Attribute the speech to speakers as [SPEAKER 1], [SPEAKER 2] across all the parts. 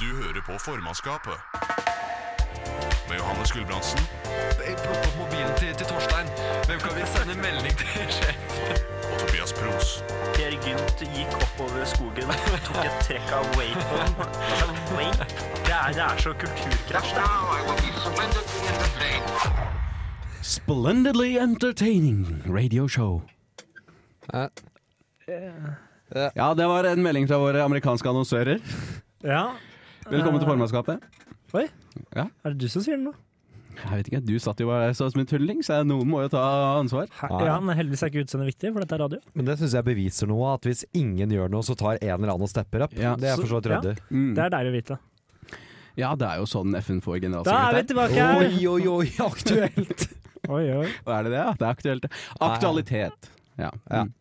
[SPEAKER 1] Du hører på formannskapet. Med Johannes Gulbrandsen
[SPEAKER 2] Plukk opp mobilen til, til Torstein. Hvem kan vi sende melding til sjef?
[SPEAKER 1] og Tobias Pros.
[SPEAKER 3] Per Gynt gikk oppover skogen, tok et trekk av wapen. Altså, wake? Det er, det er så kulturkrasj. Det
[SPEAKER 4] Now I will be splendid in the plane.
[SPEAKER 5] Splendidly entertaining radio show.
[SPEAKER 6] Ja. Ja.
[SPEAKER 5] Ja, det var en melding fra våre amerikanske annonsører.
[SPEAKER 7] Ja.
[SPEAKER 5] Velkommen til formannskapet.
[SPEAKER 7] Oi.
[SPEAKER 5] Ja.
[SPEAKER 7] Er det du som sier det nå?
[SPEAKER 5] Jeg vet ikke, Du satt jo bare der som en tulling, så noen må jo ta ansvar.
[SPEAKER 7] Hæ? Ja, men heldigvis er ikke utseendet viktig, for dette er radio.
[SPEAKER 6] Men det syns jeg beviser noe, at hvis ingen gjør noe, så tar en eller annen og stepper opp.
[SPEAKER 5] Ja.
[SPEAKER 6] Det er for så vidt
[SPEAKER 7] Ja.
[SPEAKER 6] ryddig.
[SPEAKER 7] Det
[SPEAKER 5] Mm.
[SPEAKER 7] er deilig å vite.
[SPEAKER 5] Ja, det er jo sånn FN
[SPEAKER 7] Da
[SPEAKER 5] får
[SPEAKER 7] er vi
[SPEAKER 5] generalsekretær.
[SPEAKER 7] tilbake her!
[SPEAKER 6] Oi, oi, oi, aktuelt!
[SPEAKER 7] Oi, oi.
[SPEAKER 5] Er det det? Ja, det er aktuelt. det. Aktualitet. Ja.
[SPEAKER 6] Ja.
[SPEAKER 5] Mm.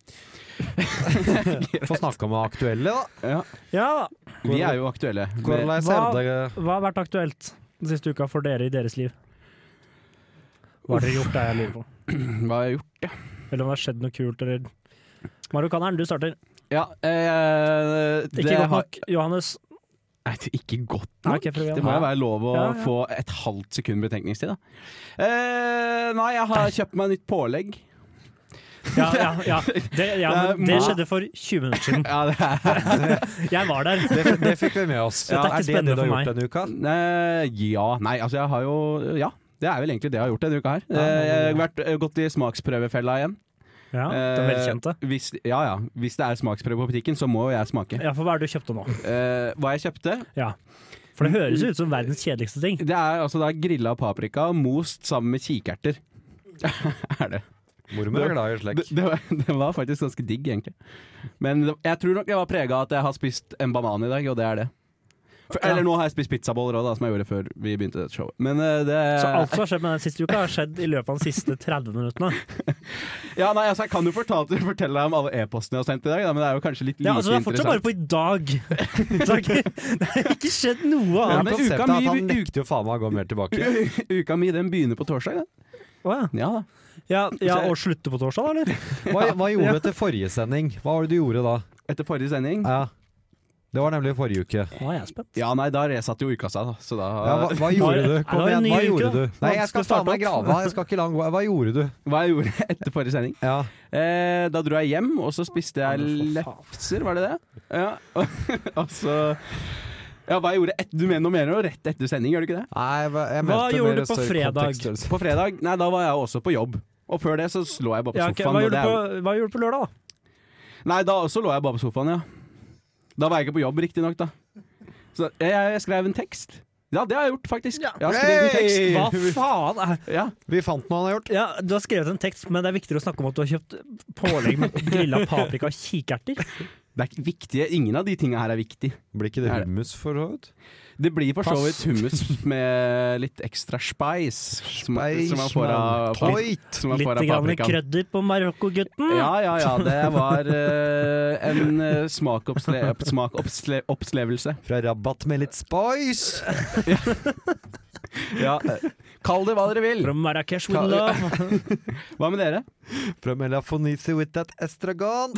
[SPEAKER 6] Få snakke om det aktuelle, da.
[SPEAKER 5] ja.
[SPEAKER 7] Ja da.
[SPEAKER 5] Vi er jo aktuelle. Men-
[SPEAKER 6] Hvordan
[SPEAKER 7] Hva-
[SPEAKER 6] ser det
[SPEAKER 7] Hva har vært aktuelt den siste uka for dere i deres liv? Hva har dere gjort, er jeg lurer på.
[SPEAKER 5] Hva har jeg gjort?
[SPEAKER 7] Eller om det har skjedd noe kult, eller Marokkaneren, du starter.
[SPEAKER 5] Ja, eh, det
[SPEAKER 7] Ikke godt
[SPEAKER 5] har-
[SPEAKER 7] nok, Johannes.
[SPEAKER 5] Nei, det er ikke godt
[SPEAKER 7] Nei,
[SPEAKER 5] nok.
[SPEAKER 7] ok, prøv igjen.
[SPEAKER 5] det må jo være lov å
[SPEAKER 7] Ja, ja.
[SPEAKER 5] få et halvt sekund betenkningstid, da. Eh, nei, jeg har kjøpt meg nytt pålegg.
[SPEAKER 7] Ja, ja, ja. Det, ja men det
[SPEAKER 5] Det er ma-
[SPEAKER 7] skjedde for 20 minutter siden.
[SPEAKER 5] Ja, det er
[SPEAKER 7] Jeg var der.
[SPEAKER 6] Det, det fikk vi med oss.
[SPEAKER 7] Dette er ikke
[SPEAKER 6] det det
[SPEAKER 7] spennende
[SPEAKER 6] du har
[SPEAKER 7] for
[SPEAKER 6] gjort denne uka?
[SPEAKER 5] Eh, Ja, nei, altså jeg har jo Ja. Det er vel egentlig det jeg har gjort denne uka her. Eh, Jeg har vært, eh, gått i smaksprøvefella igjen.
[SPEAKER 7] Ja, det er
[SPEAKER 5] Eh,
[SPEAKER 7] velkjente.
[SPEAKER 5] Hvis, ja, ja. Hvis det er smaksprøve på butikken, så må jo jeg smake.
[SPEAKER 7] Ja, for hva er det du kjøpte nå?
[SPEAKER 5] Eh, hva jeg kjøpte?
[SPEAKER 7] Ja. For det høres jo ut som verdens kjedeligste ting.
[SPEAKER 5] Det er altså da grilla paprika most sammen med kikerter. er det.
[SPEAKER 6] Mormor er glad i
[SPEAKER 5] Det,
[SPEAKER 6] slekk.
[SPEAKER 5] det, var, det var faktisk ganske digg, egentlig. Men det, jeg tror nok jeg var prega av at jeg har spist en banan i dag, og det er det. For,
[SPEAKER 7] Ja.
[SPEAKER 5] Eller nå har jeg spist pizzaboller òg, som jeg gjorde før vi begynte dette showet. Men eh, det
[SPEAKER 7] Så alt som har skjedd med den siste uka, har skjedd i løpet av de siste 30 minuttene.
[SPEAKER 5] Ja, nei, altså, Jeg kan jo fortelle, fortelle deg om alle e-postene jeg har sendt i dag, da, men det er jo kanskje litt like
[SPEAKER 7] Ja, altså, det er fortsatt bare på
[SPEAKER 5] interessant.
[SPEAKER 7] i dag. Det har ikke, det har ikke skjedd noe
[SPEAKER 6] Ja,
[SPEAKER 5] men
[SPEAKER 7] annet.
[SPEAKER 6] konseptet
[SPEAKER 5] uka
[SPEAKER 6] er at
[SPEAKER 5] mi-
[SPEAKER 6] han
[SPEAKER 5] vi-
[SPEAKER 6] nekter jo faen meg å gå mer tilbake.
[SPEAKER 5] Uka mi den begynner på torsdag. Da.
[SPEAKER 7] Å,
[SPEAKER 5] Ja da.
[SPEAKER 7] Ja, ja, og slutte på torsdag, da, eller?
[SPEAKER 6] Hva, hva gjorde du etter forrige sending? Hva var det du gjorde da?
[SPEAKER 5] Etter forrige sending
[SPEAKER 6] Ja. Det var nemlig forrige uke.
[SPEAKER 7] Nå er jeg spent.
[SPEAKER 5] Ja, nei, da resatte jo uka seg, da. Så da
[SPEAKER 6] Ja, hva, hva gjorde du? Kom
[SPEAKER 7] Ja, det var
[SPEAKER 6] igjen,
[SPEAKER 7] en ny
[SPEAKER 6] hva
[SPEAKER 7] uke,
[SPEAKER 6] gjorde
[SPEAKER 7] da.
[SPEAKER 6] du? Nei, jeg skal
[SPEAKER 7] Vanskelig å
[SPEAKER 6] faen
[SPEAKER 7] starte
[SPEAKER 6] meg grave her. Jeg skal ikke lang vei. Hva gjorde du?
[SPEAKER 5] Hva jeg gjorde etter forrige sending?
[SPEAKER 6] Ja.
[SPEAKER 5] Eh, da dro jeg hjem, og så spiste jeg
[SPEAKER 7] Ja, men for faen.
[SPEAKER 5] lefser, var det det? Ja, og så Ja, hva jeg gjorde etter Du mener noe mer nå? Rett etter sending, gjør du ikke det?
[SPEAKER 6] Nei, hva- jeg
[SPEAKER 7] Hva
[SPEAKER 6] mente
[SPEAKER 7] gjorde
[SPEAKER 6] mer
[SPEAKER 7] du på
[SPEAKER 6] større
[SPEAKER 7] fredag?
[SPEAKER 6] kontekststørrelse.
[SPEAKER 5] På fredag? Nei, da var jeg også på jobb. Og før det så lå jeg bare på
[SPEAKER 7] Ja, ok,
[SPEAKER 5] sofaen.
[SPEAKER 7] hva,
[SPEAKER 5] og
[SPEAKER 7] gjorde
[SPEAKER 5] det
[SPEAKER 7] du
[SPEAKER 5] er
[SPEAKER 7] på,
[SPEAKER 5] jo-
[SPEAKER 7] hva gjorde du på lørdag, da?
[SPEAKER 5] Nei, da også lå jeg bare på sofaen, ja. Da var jeg ikke på jobb, riktignok, da. Så jeg, jeg skrev en tekst. Ja, det har jeg gjort, faktisk. Jeg har skrevet en tekst.
[SPEAKER 6] Hey!
[SPEAKER 7] Hva faen? er-
[SPEAKER 5] Ja.
[SPEAKER 6] Vi fant noe han har gjort.
[SPEAKER 7] Ja, Du har skrevet en tekst, men det er viktigere å snakke om at du har kjøpt pålegg med grilla paprika og kikerter.
[SPEAKER 5] Det er ikke viktige. Ingen av de tinga her er viktig.
[SPEAKER 6] Blir ikke det
[SPEAKER 5] Er det-
[SPEAKER 6] hummus for så vidt?
[SPEAKER 5] Det blir for så vidt
[SPEAKER 7] Pass.
[SPEAKER 5] hummus med litt ekstra spice. Som, som man får av
[SPEAKER 6] Toit!
[SPEAKER 5] Som man
[SPEAKER 7] Litt
[SPEAKER 5] får av
[SPEAKER 7] grann
[SPEAKER 5] paprikaen.
[SPEAKER 7] krødder på Marokko-gutten.
[SPEAKER 5] Ja, ja, ja. Det var eh, en uh, smakoppslevelse. Smak oppsle opplevelse.
[SPEAKER 6] Fra Rabat med litt spice!
[SPEAKER 5] ja. eh, Kall det hva dere vil.
[SPEAKER 7] From Marrakech with love.
[SPEAKER 5] Hva med dere?
[SPEAKER 6] Fra Melafonisi with that estragon!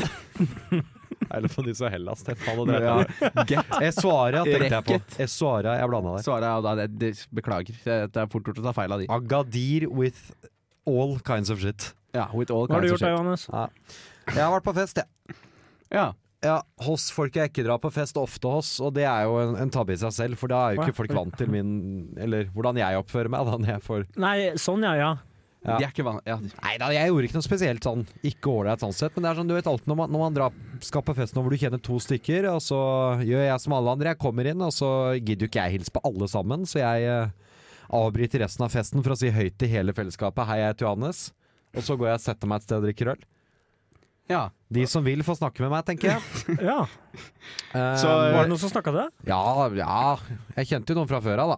[SPEAKER 6] Melafonisi og Hellas, det faen hadde
[SPEAKER 5] Ja. Get.
[SPEAKER 6] Esuaria tenkte jeg på.
[SPEAKER 5] Racket.
[SPEAKER 6] Esuaria, jeg blanda der.
[SPEAKER 5] Svaret er da det, det, Beklager. Det er fort gjort å ta feil av de.
[SPEAKER 6] Agadir with all kinds of shit.
[SPEAKER 5] Ja, with all
[SPEAKER 7] Hva har du gjort
[SPEAKER 5] kinds of
[SPEAKER 7] da,
[SPEAKER 5] shit.
[SPEAKER 7] Johannes?
[SPEAKER 6] Jeg har vært på fest, jeg.
[SPEAKER 5] Ja.
[SPEAKER 6] Ja, hos folk jeg ikke drar på fest ofte hos, og det er jo en, en tabbe i seg selv, for da er jo
[SPEAKER 7] Hva?
[SPEAKER 6] ikke folk vant til min Eller hvordan jeg oppfører meg da når jeg får
[SPEAKER 7] Nei, sånn ja, ja.
[SPEAKER 6] Ja.
[SPEAKER 5] De er ikke van... Ja.
[SPEAKER 6] Nei da, jeg gjorde ikke noe spesielt sånn, ikke ålreit sånn sett, men det er sånn, du vet alltid når man, når man drar, skal på fest nå hvor du kjenner to stykker, og så gjør jeg som alle andre, jeg kommer inn, og så gidder jo ikke jeg hilse på alle sammen, så jeg eh, avbryter resten av festen for å si høyt til hele fellesskapet, hei, jeg heter Johannes, og så går jeg og setter meg et sted og drikker øl.
[SPEAKER 5] ja.
[SPEAKER 6] De som vil, får snakke med meg, tenker jeg.
[SPEAKER 7] ja.
[SPEAKER 6] Eh,
[SPEAKER 5] Så,
[SPEAKER 7] Var det noen som snakka til deg?
[SPEAKER 6] ja, ja, jeg kjente jo noen fra før av, da.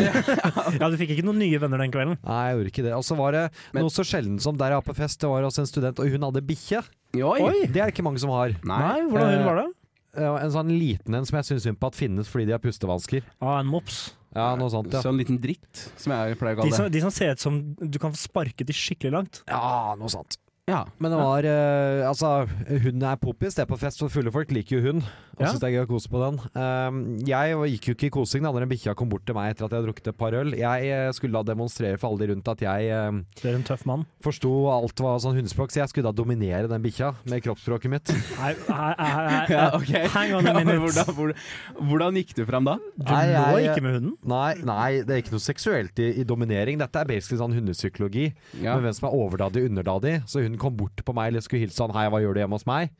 [SPEAKER 7] Ja, du fikk ikke noen nye venner den kvelden?
[SPEAKER 6] Nei, jeg gjorde ikke det. Og så var det
[SPEAKER 5] Men-
[SPEAKER 6] noe så sjelden som der jeg var på fest, det var også en student, og hun hadde bikkje.
[SPEAKER 5] Oi!
[SPEAKER 6] Det er det ikke mange som har.
[SPEAKER 5] Nei.
[SPEAKER 7] Nei, hvordan
[SPEAKER 6] Eh,
[SPEAKER 7] hun var det?
[SPEAKER 6] Det var En sånn liten en som jeg syns synd på at finnes fordi de har pustevansker.
[SPEAKER 7] Ja, Ah, en mops.
[SPEAKER 6] Ja, noe sånt, ja.
[SPEAKER 5] Sånn liten dritt, som jeg pleier å
[SPEAKER 7] De
[SPEAKER 5] kalle
[SPEAKER 7] som,
[SPEAKER 5] det.
[SPEAKER 7] de som ser ut som du kan sparke de skikkelig langt.
[SPEAKER 6] Ja, noe sånt.
[SPEAKER 5] Ja.
[SPEAKER 6] Men det var eh, Altså, hun er poppis. Det er på fest, for fulle folk liker jo hun. Og
[SPEAKER 7] Ja.
[SPEAKER 6] synes det er gøy å kose på den. Ehm, jeg gikk jo ikke i kosing da når en bikkja kom bort til meg etter at jeg hadde drukket et par øl. Jeg eh, skulle da demonstrere for alle de rundt at jeg eh,
[SPEAKER 7] Du er en tøff mann.
[SPEAKER 6] forsto alt var sånn hundespråk, så jeg skulle da dominere den bikkja med kroppsspråket mitt.
[SPEAKER 7] Nei, eh, her, her, her,
[SPEAKER 5] Ja, ok.
[SPEAKER 7] eh, Hang on a
[SPEAKER 5] Ja, men
[SPEAKER 7] minute.
[SPEAKER 5] hvordan, hvordan, hvordan gikk du fram da?
[SPEAKER 7] Du
[SPEAKER 6] Nei,
[SPEAKER 7] lå
[SPEAKER 6] jeg-
[SPEAKER 7] ikke med hunden.
[SPEAKER 6] Nei, nei, det er ikke noe seksuelt i, i dominering. Dette er basically sånn hundepsykologi.
[SPEAKER 5] Ja.
[SPEAKER 6] Men hvem som er overdadig, underdadig. Så hun kom bort på meg eller skulle hilse han 'hei, hva gjør du hjemme hos meg?'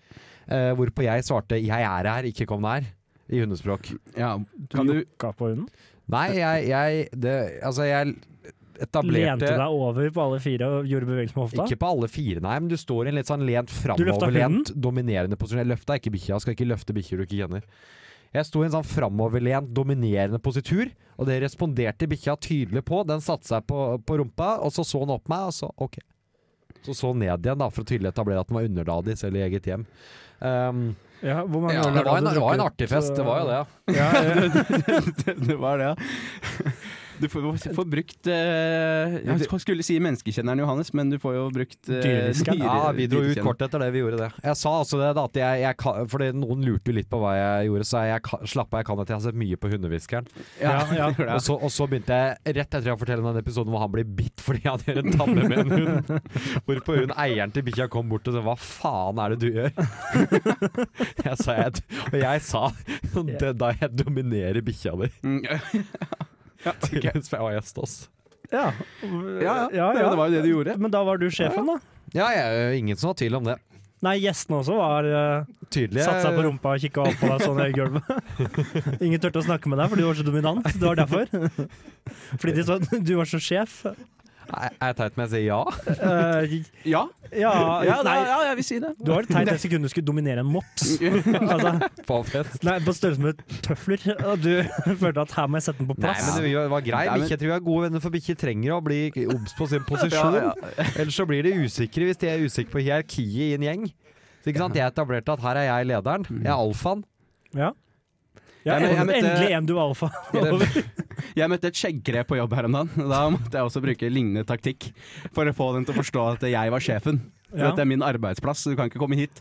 [SPEAKER 6] Eh, hvorpå jeg svarte 'jeg er her, ikke kom nær'. I hundespråk.
[SPEAKER 5] Ja,
[SPEAKER 7] Du
[SPEAKER 5] kan du
[SPEAKER 7] jokka på hunden.
[SPEAKER 6] Nei, jeg, jeg det, Altså, jeg
[SPEAKER 7] Lente
[SPEAKER 6] etablerte
[SPEAKER 7] deg over på alle fire og gjorde bevegelser med hofta.
[SPEAKER 6] ikke på alle fire, nei, men du står i en litt sånn lent
[SPEAKER 7] løfta
[SPEAKER 6] framoverlent, dominerende posisjon. Jeg løfta ikke bikkja, skal ikke løfte bikkjer du ikke kjenner. Jeg sto i en sånn framoverlent, dominerende positur, og det responderte bikkja tydelig på. Den satte seg på, på rumpa, og så så den opp meg, og så OK. Så så hun ned igjen, da, for å tydelig etablere at den var underdadig, selv i eget hjem. Um,
[SPEAKER 7] Ja, hvor mange
[SPEAKER 5] Ja,
[SPEAKER 7] ganger
[SPEAKER 6] det, var
[SPEAKER 7] har
[SPEAKER 6] en,
[SPEAKER 7] du
[SPEAKER 6] det var en
[SPEAKER 7] drukket,
[SPEAKER 6] artig fest,
[SPEAKER 7] så-
[SPEAKER 6] det var jo det. ja.
[SPEAKER 7] Ja, eh, ja.
[SPEAKER 5] Det var det, ja. Du får, får brukt eh, Jeg skulle si menneskekjenneren Johannes, men du får jo brukt eh,
[SPEAKER 7] Dyreskjenneren.
[SPEAKER 5] dyre-
[SPEAKER 6] Ja, Ah, vi dro ut
[SPEAKER 5] dyrekjenneren.
[SPEAKER 6] kort etter det. Vi gjorde det. Jeg sa altså det da at jeg, jeg kan- Fordi noen lurte jo litt på hva jeg gjorde, så jeg ka- slapp av, jeg kan at jeg har sett mye på Hundehviskeren.
[SPEAKER 5] Ja,
[SPEAKER 7] Ja, ja.
[SPEAKER 5] det gjorde
[SPEAKER 6] Og,
[SPEAKER 5] jeg.
[SPEAKER 6] så- og så begynte jeg rett etter jeg forteller den episoden hvor han blir bitt fordi han gjør en tabbe med en hund. Hvorpå hun eieren til bikkja kom bort og sa 'hva faen er det du gjør'? Jeg sa, jeg, og jeg sa det, da jeg dominerer bikkja di.
[SPEAKER 5] Mm, ja.
[SPEAKER 6] Til mens jeg var gjest, ass.
[SPEAKER 7] Ja.
[SPEAKER 5] Ja, ja, det var jo det du gjorde.
[SPEAKER 7] Men da var du sjefen, da.
[SPEAKER 6] Ja, jeg, ingen som var tvil om det.
[SPEAKER 7] Nei, gjestene også var eh,
[SPEAKER 6] Tydelig.
[SPEAKER 7] Satt seg på rumpa og kikka opp på deg sånn i gulvet. Ingen turte å snakke med deg, for du var så dominant. Det var derfor. Fordi de sa du var så sjef.
[SPEAKER 6] Er er jeg teit om jeg sier ja?
[SPEAKER 7] Eh,
[SPEAKER 5] ja,
[SPEAKER 7] ja,
[SPEAKER 5] ja, da,
[SPEAKER 7] nei.
[SPEAKER 5] ja, jeg vil si det.
[SPEAKER 7] Du har det teit det sekundet du skulle dominere en mops. Altså,
[SPEAKER 6] På fest?
[SPEAKER 7] nei, på størrelse med tøfler. Og du følte at her må jeg sette den på
[SPEAKER 6] Nei,
[SPEAKER 7] plass.
[SPEAKER 6] men det var grei
[SPEAKER 5] Nei, men-
[SPEAKER 6] bikkje. Jeg tror vi er gode venner, for bikkjer trenger å bli obs på sin posisjon.
[SPEAKER 5] Ja,
[SPEAKER 6] Ellers så blir de usikre hvis de er usikre på hierarkiet i en gjeng. Så ikke sant, Jeg etablerte at her er jeg lederen, jeg er alfaen.
[SPEAKER 7] Ja. Ja,
[SPEAKER 5] Jeg men- jeg møtte-
[SPEAKER 7] endelig en du var alfa. Over.
[SPEAKER 5] Jeg møtte et skjeggkre på jobb her om dagen. og Da måtte jeg også bruke lignende taktikk for å få den til å forstå at jeg var sjefen. For
[SPEAKER 7] Ja.
[SPEAKER 5] Dette er min arbeidsplass, så du kan ikke komme hit.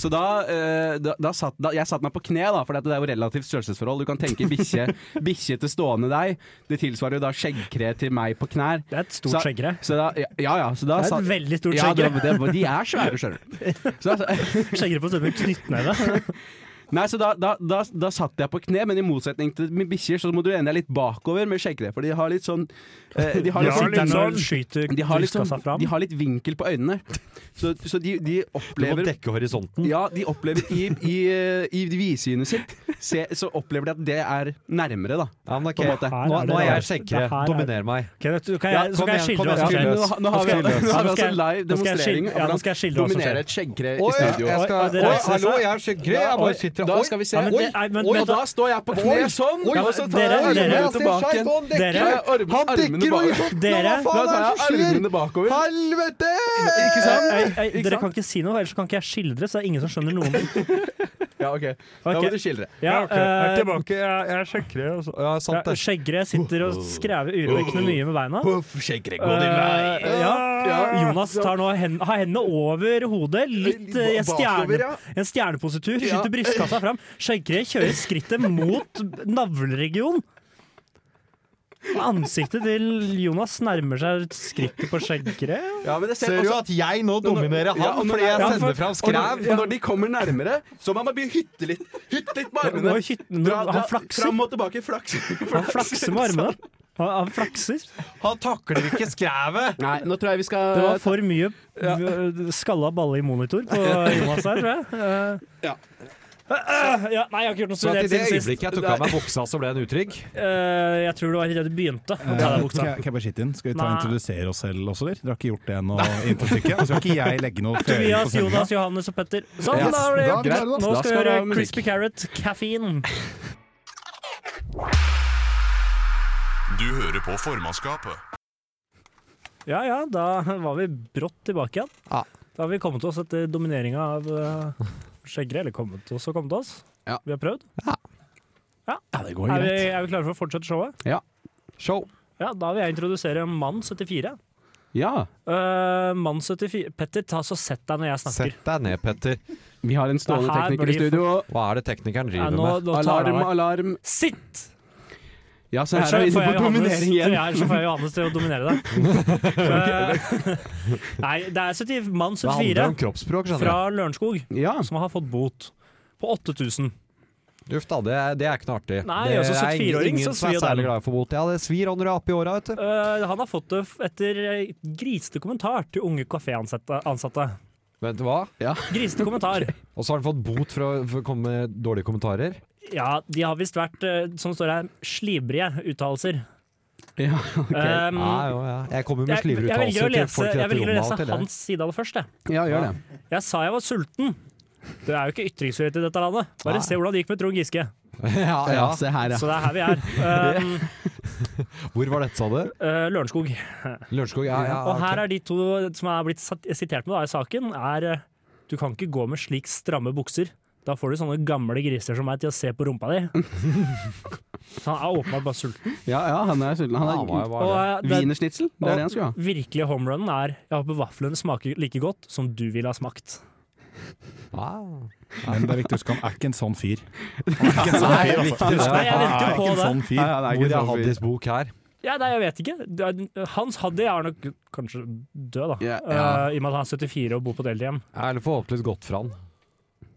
[SPEAKER 5] Så da, eh, da, da, satt, da Jeg satt meg på kne, da, for det er jo relativt størrelsesforhold. Du kan tenke bikkje bikkje til stående deg. Det tilsvarer jo da skjeggkre til meg på knær.
[SPEAKER 7] Det er et
[SPEAKER 5] Så-
[SPEAKER 7] stort skjeggere.
[SPEAKER 5] Så da, ja, ja, så da
[SPEAKER 7] Det er
[SPEAKER 5] satt-
[SPEAKER 7] et veldig stort
[SPEAKER 5] ja, det,
[SPEAKER 7] skjeggere.
[SPEAKER 5] det, de er svære, skjønner du. Så da-
[SPEAKER 7] Skjeggere på størrelse med knyttneve.
[SPEAKER 5] Nei, så da, da, da, da satt jeg på kne, men i motsetning til med bikkjer, så må du lene deg litt bakover med skjeggkre. For de har litt sånn eh, De har
[SPEAKER 7] Ja,
[SPEAKER 5] litt, sånn-
[SPEAKER 7] litt sånn skyter
[SPEAKER 5] de har, litt sånn,
[SPEAKER 7] brystkassa fram.
[SPEAKER 5] de har litt vinkel på øynene. Så, så de, de
[SPEAKER 6] Du må
[SPEAKER 5] opplever
[SPEAKER 6] dekke horisonten.
[SPEAKER 5] ja, de opplever i, i, eh, i vidsynet sitt se, Så opplever de at det er nærmere, da.
[SPEAKER 6] Ja, men ok,
[SPEAKER 5] På en måte.
[SPEAKER 6] Nå, nå er jeg
[SPEAKER 7] Det
[SPEAKER 6] skjeggkre.
[SPEAKER 7] her er-
[SPEAKER 6] Dominer meg.
[SPEAKER 7] Kenneth, du- kan
[SPEAKER 6] Ja,
[SPEAKER 7] jeg, så
[SPEAKER 6] kom
[SPEAKER 7] kan jeg
[SPEAKER 6] igjen,
[SPEAKER 7] skildre
[SPEAKER 6] kom
[SPEAKER 7] hva som
[SPEAKER 6] igjen,
[SPEAKER 5] nå,
[SPEAKER 7] skjer.
[SPEAKER 6] løs.
[SPEAKER 5] nå har
[SPEAKER 7] Nå
[SPEAKER 5] vi,
[SPEAKER 7] skal jeg-
[SPEAKER 5] nå har vi
[SPEAKER 7] nå skal
[SPEAKER 5] altså
[SPEAKER 7] jeg-
[SPEAKER 5] live
[SPEAKER 7] nå skal jeg
[SPEAKER 5] demonstrering
[SPEAKER 7] skille-
[SPEAKER 5] av
[SPEAKER 7] ja, nå
[SPEAKER 5] hvordan
[SPEAKER 7] skal jeg skille hva som
[SPEAKER 5] dominerer
[SPEAKER 7] skjer.
[SPEAKER 5] et skjeggkre i
[SPEAKER 6] Oi,
[SPEAKER 5] studio.
[SPEAKER 6] jeg
[SPEAKER 7] Oi,
[SPEAKER 6] skal,
[SPEAKER 7] det
[SPEAKER 6] oi,
[SPEAKER 7] reiser seg.
[SPEAKER 6] hallo, jeg er skjeggkre. Jeg
[SPEAKER 5] Oi,
[SPEAKER 6] bare sitter
[SPEAKER 5] da skal vi se.
[SPEAKER 7] Ja, men det-
[SPEAKER 5] Oi,
[SPEAKER 7] nei, men-
[SPEAKER 5] oi,
[SPEAKER 7] men
[SPEAKER 5] og da
[SPEAKER 7] da-
[SPEAKER 5] står jeg på kne sånn,
[SPEAKER 6] Oi,
[SPEAKER 5] og så tar
[SPEAKER 7] dere-
[SPEAKER 5] jeg armene
[SPEAKER 7] dere- sånn,
[SPEAKER 5] tilbake.
[SPEAKER 7] Dere-
[SPEAKER 5] Jeg har arm-
[SPEAKER 6] Han
[SPEAKER 5] armene
[SPEAKER 6] dekker
[SPEAKER 5] bak.
[SPEAKER 6] horisonten! Hva
[SPEAKER 7] Dere-
[SPEAKER 5] Da
[SPEAKER 6] faen er
[SPEAKER 5] tar jeg
[SPEAKER 6] det som
[SPEAKER 5] armene
[SPEAKER 6] skjer?
[SPEAKER 5] bakover.
[SPEAKER 6] Helvete!
[SPEAKER 5] Ikke sant?
[SPEAKER 7] Ei, ei,
[SPEAKER 5] Ikke
[SPEAKER 7] dere
[SPEAKER 5] sant?
[SPEAKER 7] kan ikke si noe, ellers kan ikke jeg skildre, så det er ingen som skjønner noen ting.
[SPEAKER 5] Ja, ok. Da må
[SPEAKER 7] Ok.
[SPEAKER 5] du skildre.
[SPEAKER 7] Ja, eh,
[SPEAKER 6] tilbake. Jeg, er skjeggkre. Ja,
[SPEAKER 7] ja,
[SPEAKER 6] sant det.
[SPEAKER 7] Skjeggere sitter og skrever urovekkende mye med beina.
[SPEAKER 5] Huff, skjeggkre, gå din vei.
[SPEAKER 7] Eh, ja. Jonas tar nå hen, har hendene over hodet, litt eh, i en,
[SPEAKER 5] Bakover, ja.
[SPEAKER 7] stjerne, en stjernepositur, skyter brystkassa fram. Skjeggere kjører skrittet mot navleregionen. Ansiktet til Jonas nærmer seg skrittet på skjeggere.
[SPEAKER 5] Ja, men det
[SPEAKER 6] Ser du at jeg nå dominerer
[SPEAKER 5] Ja,
[SPEAKER 6] han
[SPEAKER 5] og når-
[SPEAKER 6] fordi jeg
[SPEAKER 5] ja,
[SPEAKER 7] for-
[SPEAKER 6] sender fram
[SPEAKER 5] og når,
[SPEAKER 6] skræv?
[SPEAKER 5] og når de kommer nærmere, så må man begynne å hytte litt. Hytte litt med
[SPEAKER 7] Nå
[SPEAKER 5] armene.
[SPEAKER 7] er hytten- nå- han flakser.
[SPEAKER 5] Fram og tilbake. Flaks.
[SPEAKER 7] Han flakser med armene. Han, han flakser.
[SPEAKER 6] Han takler ikke skrævet!
[SPEAKER 5] Nei, nå tror jeg vi skal
[SPEAKER 7] Det var for mye v- skalla balle i monitor på Jonas her, tror jeg. Eh,
[SPEAKER 5] Ja.
[SPEAKER 7] eh, ja, nei, jeg har ikke gjort noe
[SPEAKER 6] Så at i
[SPEAKER 7] studert
[SPEAKER 6] det
[SPEAKER 7] siden sist.
[SPEAKER 6] øyeblikket jeg tok av meg buksa, så ble han utrygg?
[SPEAKER 7] Eh, jeg tror det var idet du begynte å ta
[SPEAKER 8] Eh,
[SPEAKER 7] deg buksa.
[SPEAKER 8] Kan jeg, kan jeg bare skyte inn? Skal vi ta
[SPEAKER 7] Nei.
[SPEAKER 8] introdusere oss selv også, eller? Dere har ikke gjort det ennå? introstykket. Og så skal ikke jeg legge noe føring på
[SPEAKER 7] Tobias,
[SPEAKER 8] sendinga.
[SPEAKER 7] Jonas, Johannes og Petter. Sånn,
[SPEAKER 8] Yes,
[SPEAKER 7] da var det
[SPEAKER 8] da er vi
[SPEAKER 7] gjort.
[SPEAKER 8] klare, da.
[SPEAKER 7] Nå
[SPEAKER 5] Da
[SPEAKER 7] skal
[SPEAKER 5] skal
[SPEAKER 7] vi
[SPEAKER 5] det
[SPEAKER 7] høre
[SPEAKER 5] være
[SPEAKER 7] Crispy Carrot, Caffeine.
[SPEAKER 1] Du hører på formannskapet.
[SPEAKER 7] Ja ja, da var vi brått tilbake igjen.
[SPEAKER 6] Ja.
[SPEAKER 7] Da har vi kommet oss etter domineringa av uh, skjeggere. Eller kommet oss og kommet oss.
[SPEAKER 5] Ja.
[SPEAKER 7] Vi har prøvd.
[SPEAKER 8] Ja, det går
[SPEAKER 7] Er vi,
[SPEAKER 8] greit.
[SPEAKER 7] er vi klare for å fortsette showet?
[SPEAKER 6] Show.
[SPEAKER 7] Ja, Da vil jeg introdusere mann 74.
[SPEAKER 5] Ja.
[SPEAKER 7] Eh, Mann 74 Petter, ta så sett deg når jeg snakker.
[SPEAKER 6] Sett deg ned, Petter.
[SPEAKER 5] Vi har en stående
[SPEAKER 7] Det her
[SPEAKER 5] tekniker i
[SPEAKER 7] blir
[SPEAKER 5] studio.
[SPEAKER 6] Hva er det teknikeren
[SPEAKER 7] Nei,
[SPEAKER 6] driver
[SPEAKER 7] nå,
[SPEAKER 6] med?
[SPEAKER 7] nå tar jeg
[SPEAKER 5] Alarm,
[SPEAKER 7] deg.
[SPEAKER 5] alarm.
[SPEAKER 7] Sitt!
[SPEAKER 5] Ja, så
[SPEAKER 7] Ellers
[SPEAKER 5] her er
[SPEAKER 7] så
[SPEAKER 5] vi inne
[SPEAKER 7] får jeg
[SPEAKER 5] på
[SPEAKER 7] Johannes-
[SPEAKER 5] dominering
[SPEAKER 7] så
[SPEAKER 5] igjen.
[SPEAKER 7] jeg- Så får jeg Johannes til å dominere deg. Eh, Nei, det er 70, mann
[SPEAKER 6] Det handler
[SPEAKER 7] 74
[SPEAKER 6] om kroppsspråk, skjønner
[SPEAKER 7] fra Lørenskog
[SPEAKER 5] Ja.
[SPEAKER 7] som har fått bot på 8000.
[SPEAKER 6] du. Uff da, det er, det er ikke noe artig.
[SPEAKER 7] Nei,
[SPEAKER 6] det
[SPEAKER 7] altså, 74-åring,
[SPEAKER 6] ingen
[SPEAKER 7] så
[SPEAKER 6] som er
[SPEAKER 7] svir jo den.
[SPEAKER 6] særlig glad for bot. Ja, det svir når du er oppe i åra, vet du.
[SPEAKER 7] Eh, han har fått det f- etter eh, grisete kommentar til unge kaféansatte. ansatte.
[SPEAKER 6] Vent, hva?
[SPEAKER 7] Grisete kommentar.
[SPEAKER 6] Og så har han fått bot for å, for å komme med dårlige kommentarer.
[SPEAKER 7] Ja, de har visst vært, eh, som det står her, slibrige uttalelser.
[SPEAKER 5] ja.
[SPEAKER 7] Eh,
[SPEAKER 6] Ja, jo, ja. Jeg kommer med
[SPEAKER 7] jeg, jeg velger å
[SPEAKER 6] slivreuttalelser til
[SPEAKER 7] lese,
[SPEAKER 6] folk i
[SPEAKER 7] jeg
[SPEAKER 6] dette
[SPEAKER 7] velger å
[SPEAKER 6] rommet. av og
[SPEAKER 7] lese
[SPEAKER 6] til, jeg.
[SPEAKER 7] hans side av det først. Jeg.
[SPEAKER 5] ja, gjør det.
[SPEAKER 7] jeg sa jeg var sulten. Det er jo ikke ytringsfrihet i dette landet. Bare
[SPEAKER 6] Nei.
[SPEAKER 7] se hvordan det gikk med Trond Giske.
[SPEAKER 6] ja, ja.
[SPEAKER 5] Ja, se her, ja.
[SPEAKER 7] Så det er her vi er. Um,
[SPEAKER 6] Hvor var dette, sa du?
[SPEAKER 7] eh, Lørenskog.
[SPEAKER 6] Lørenskog? Ja, ja.
[SPEAKER 7] Og her
[SPEAKER 6] ok.
[SPEAKER 7] er de to som er blitt sat- sitert med da, i saken, er eh, Du kan ikke gå med slik stramme bukser. Da får du sånne gamle griser som meg til å se på rumpa di. Så han er åpenbart bare sulten.
[SPEAKER 5] Ja, ja, han er sulten.
[SPEAKER 6] Ja,
[SPEAKER 5] Han
[SPEAKER 6] hva-
[SPEAKER 5] er
[SPEAKER 6] hva er det?
[SPEAKER 7] Og, eh, det,
[SPEAKER 5] Wienersnitzel, det er det han skulle ha.
[SPEAKER 7] virkelige homerunnen er Jeg håper vaflene smaker like godt som du ville ha smakt.
[SPEAKER 6] Ah.
[SPEAKER 8] Men det er viktig å huske han er ikke en sånn fyr.
[SPEAKER 6] Nei, det er viktig, det.
[SPEAKER 7] Nei, jeg
[SPEAKER 8] Han er
[SPEAKER 7] venter jo
[SPEAKER 8] ikke en
[SPEAKER 7] på det.
[SPEAKER 8] sånn fyr.
[SPEAKER 5] Ja, ja, det er
[SPEAKER 6] Hvor
[SPEAKER 5] ikke
[SPEAKER 6] er
[SPEAKER 5] så fint.
[SPEAKER 6] Haddis bok her?
[SPEAKER 7] Ja, nei, jeg vet ikke. Det er- Hans Haddy er nok kanskje død, da.
[SPEAKER 5] Ja, ja.
[SPEAKER 7] Eh, I og med at han er 74 og bor på et eldrehjem.
[SPEAKER 6] Eller forhåpentligvis godt for han.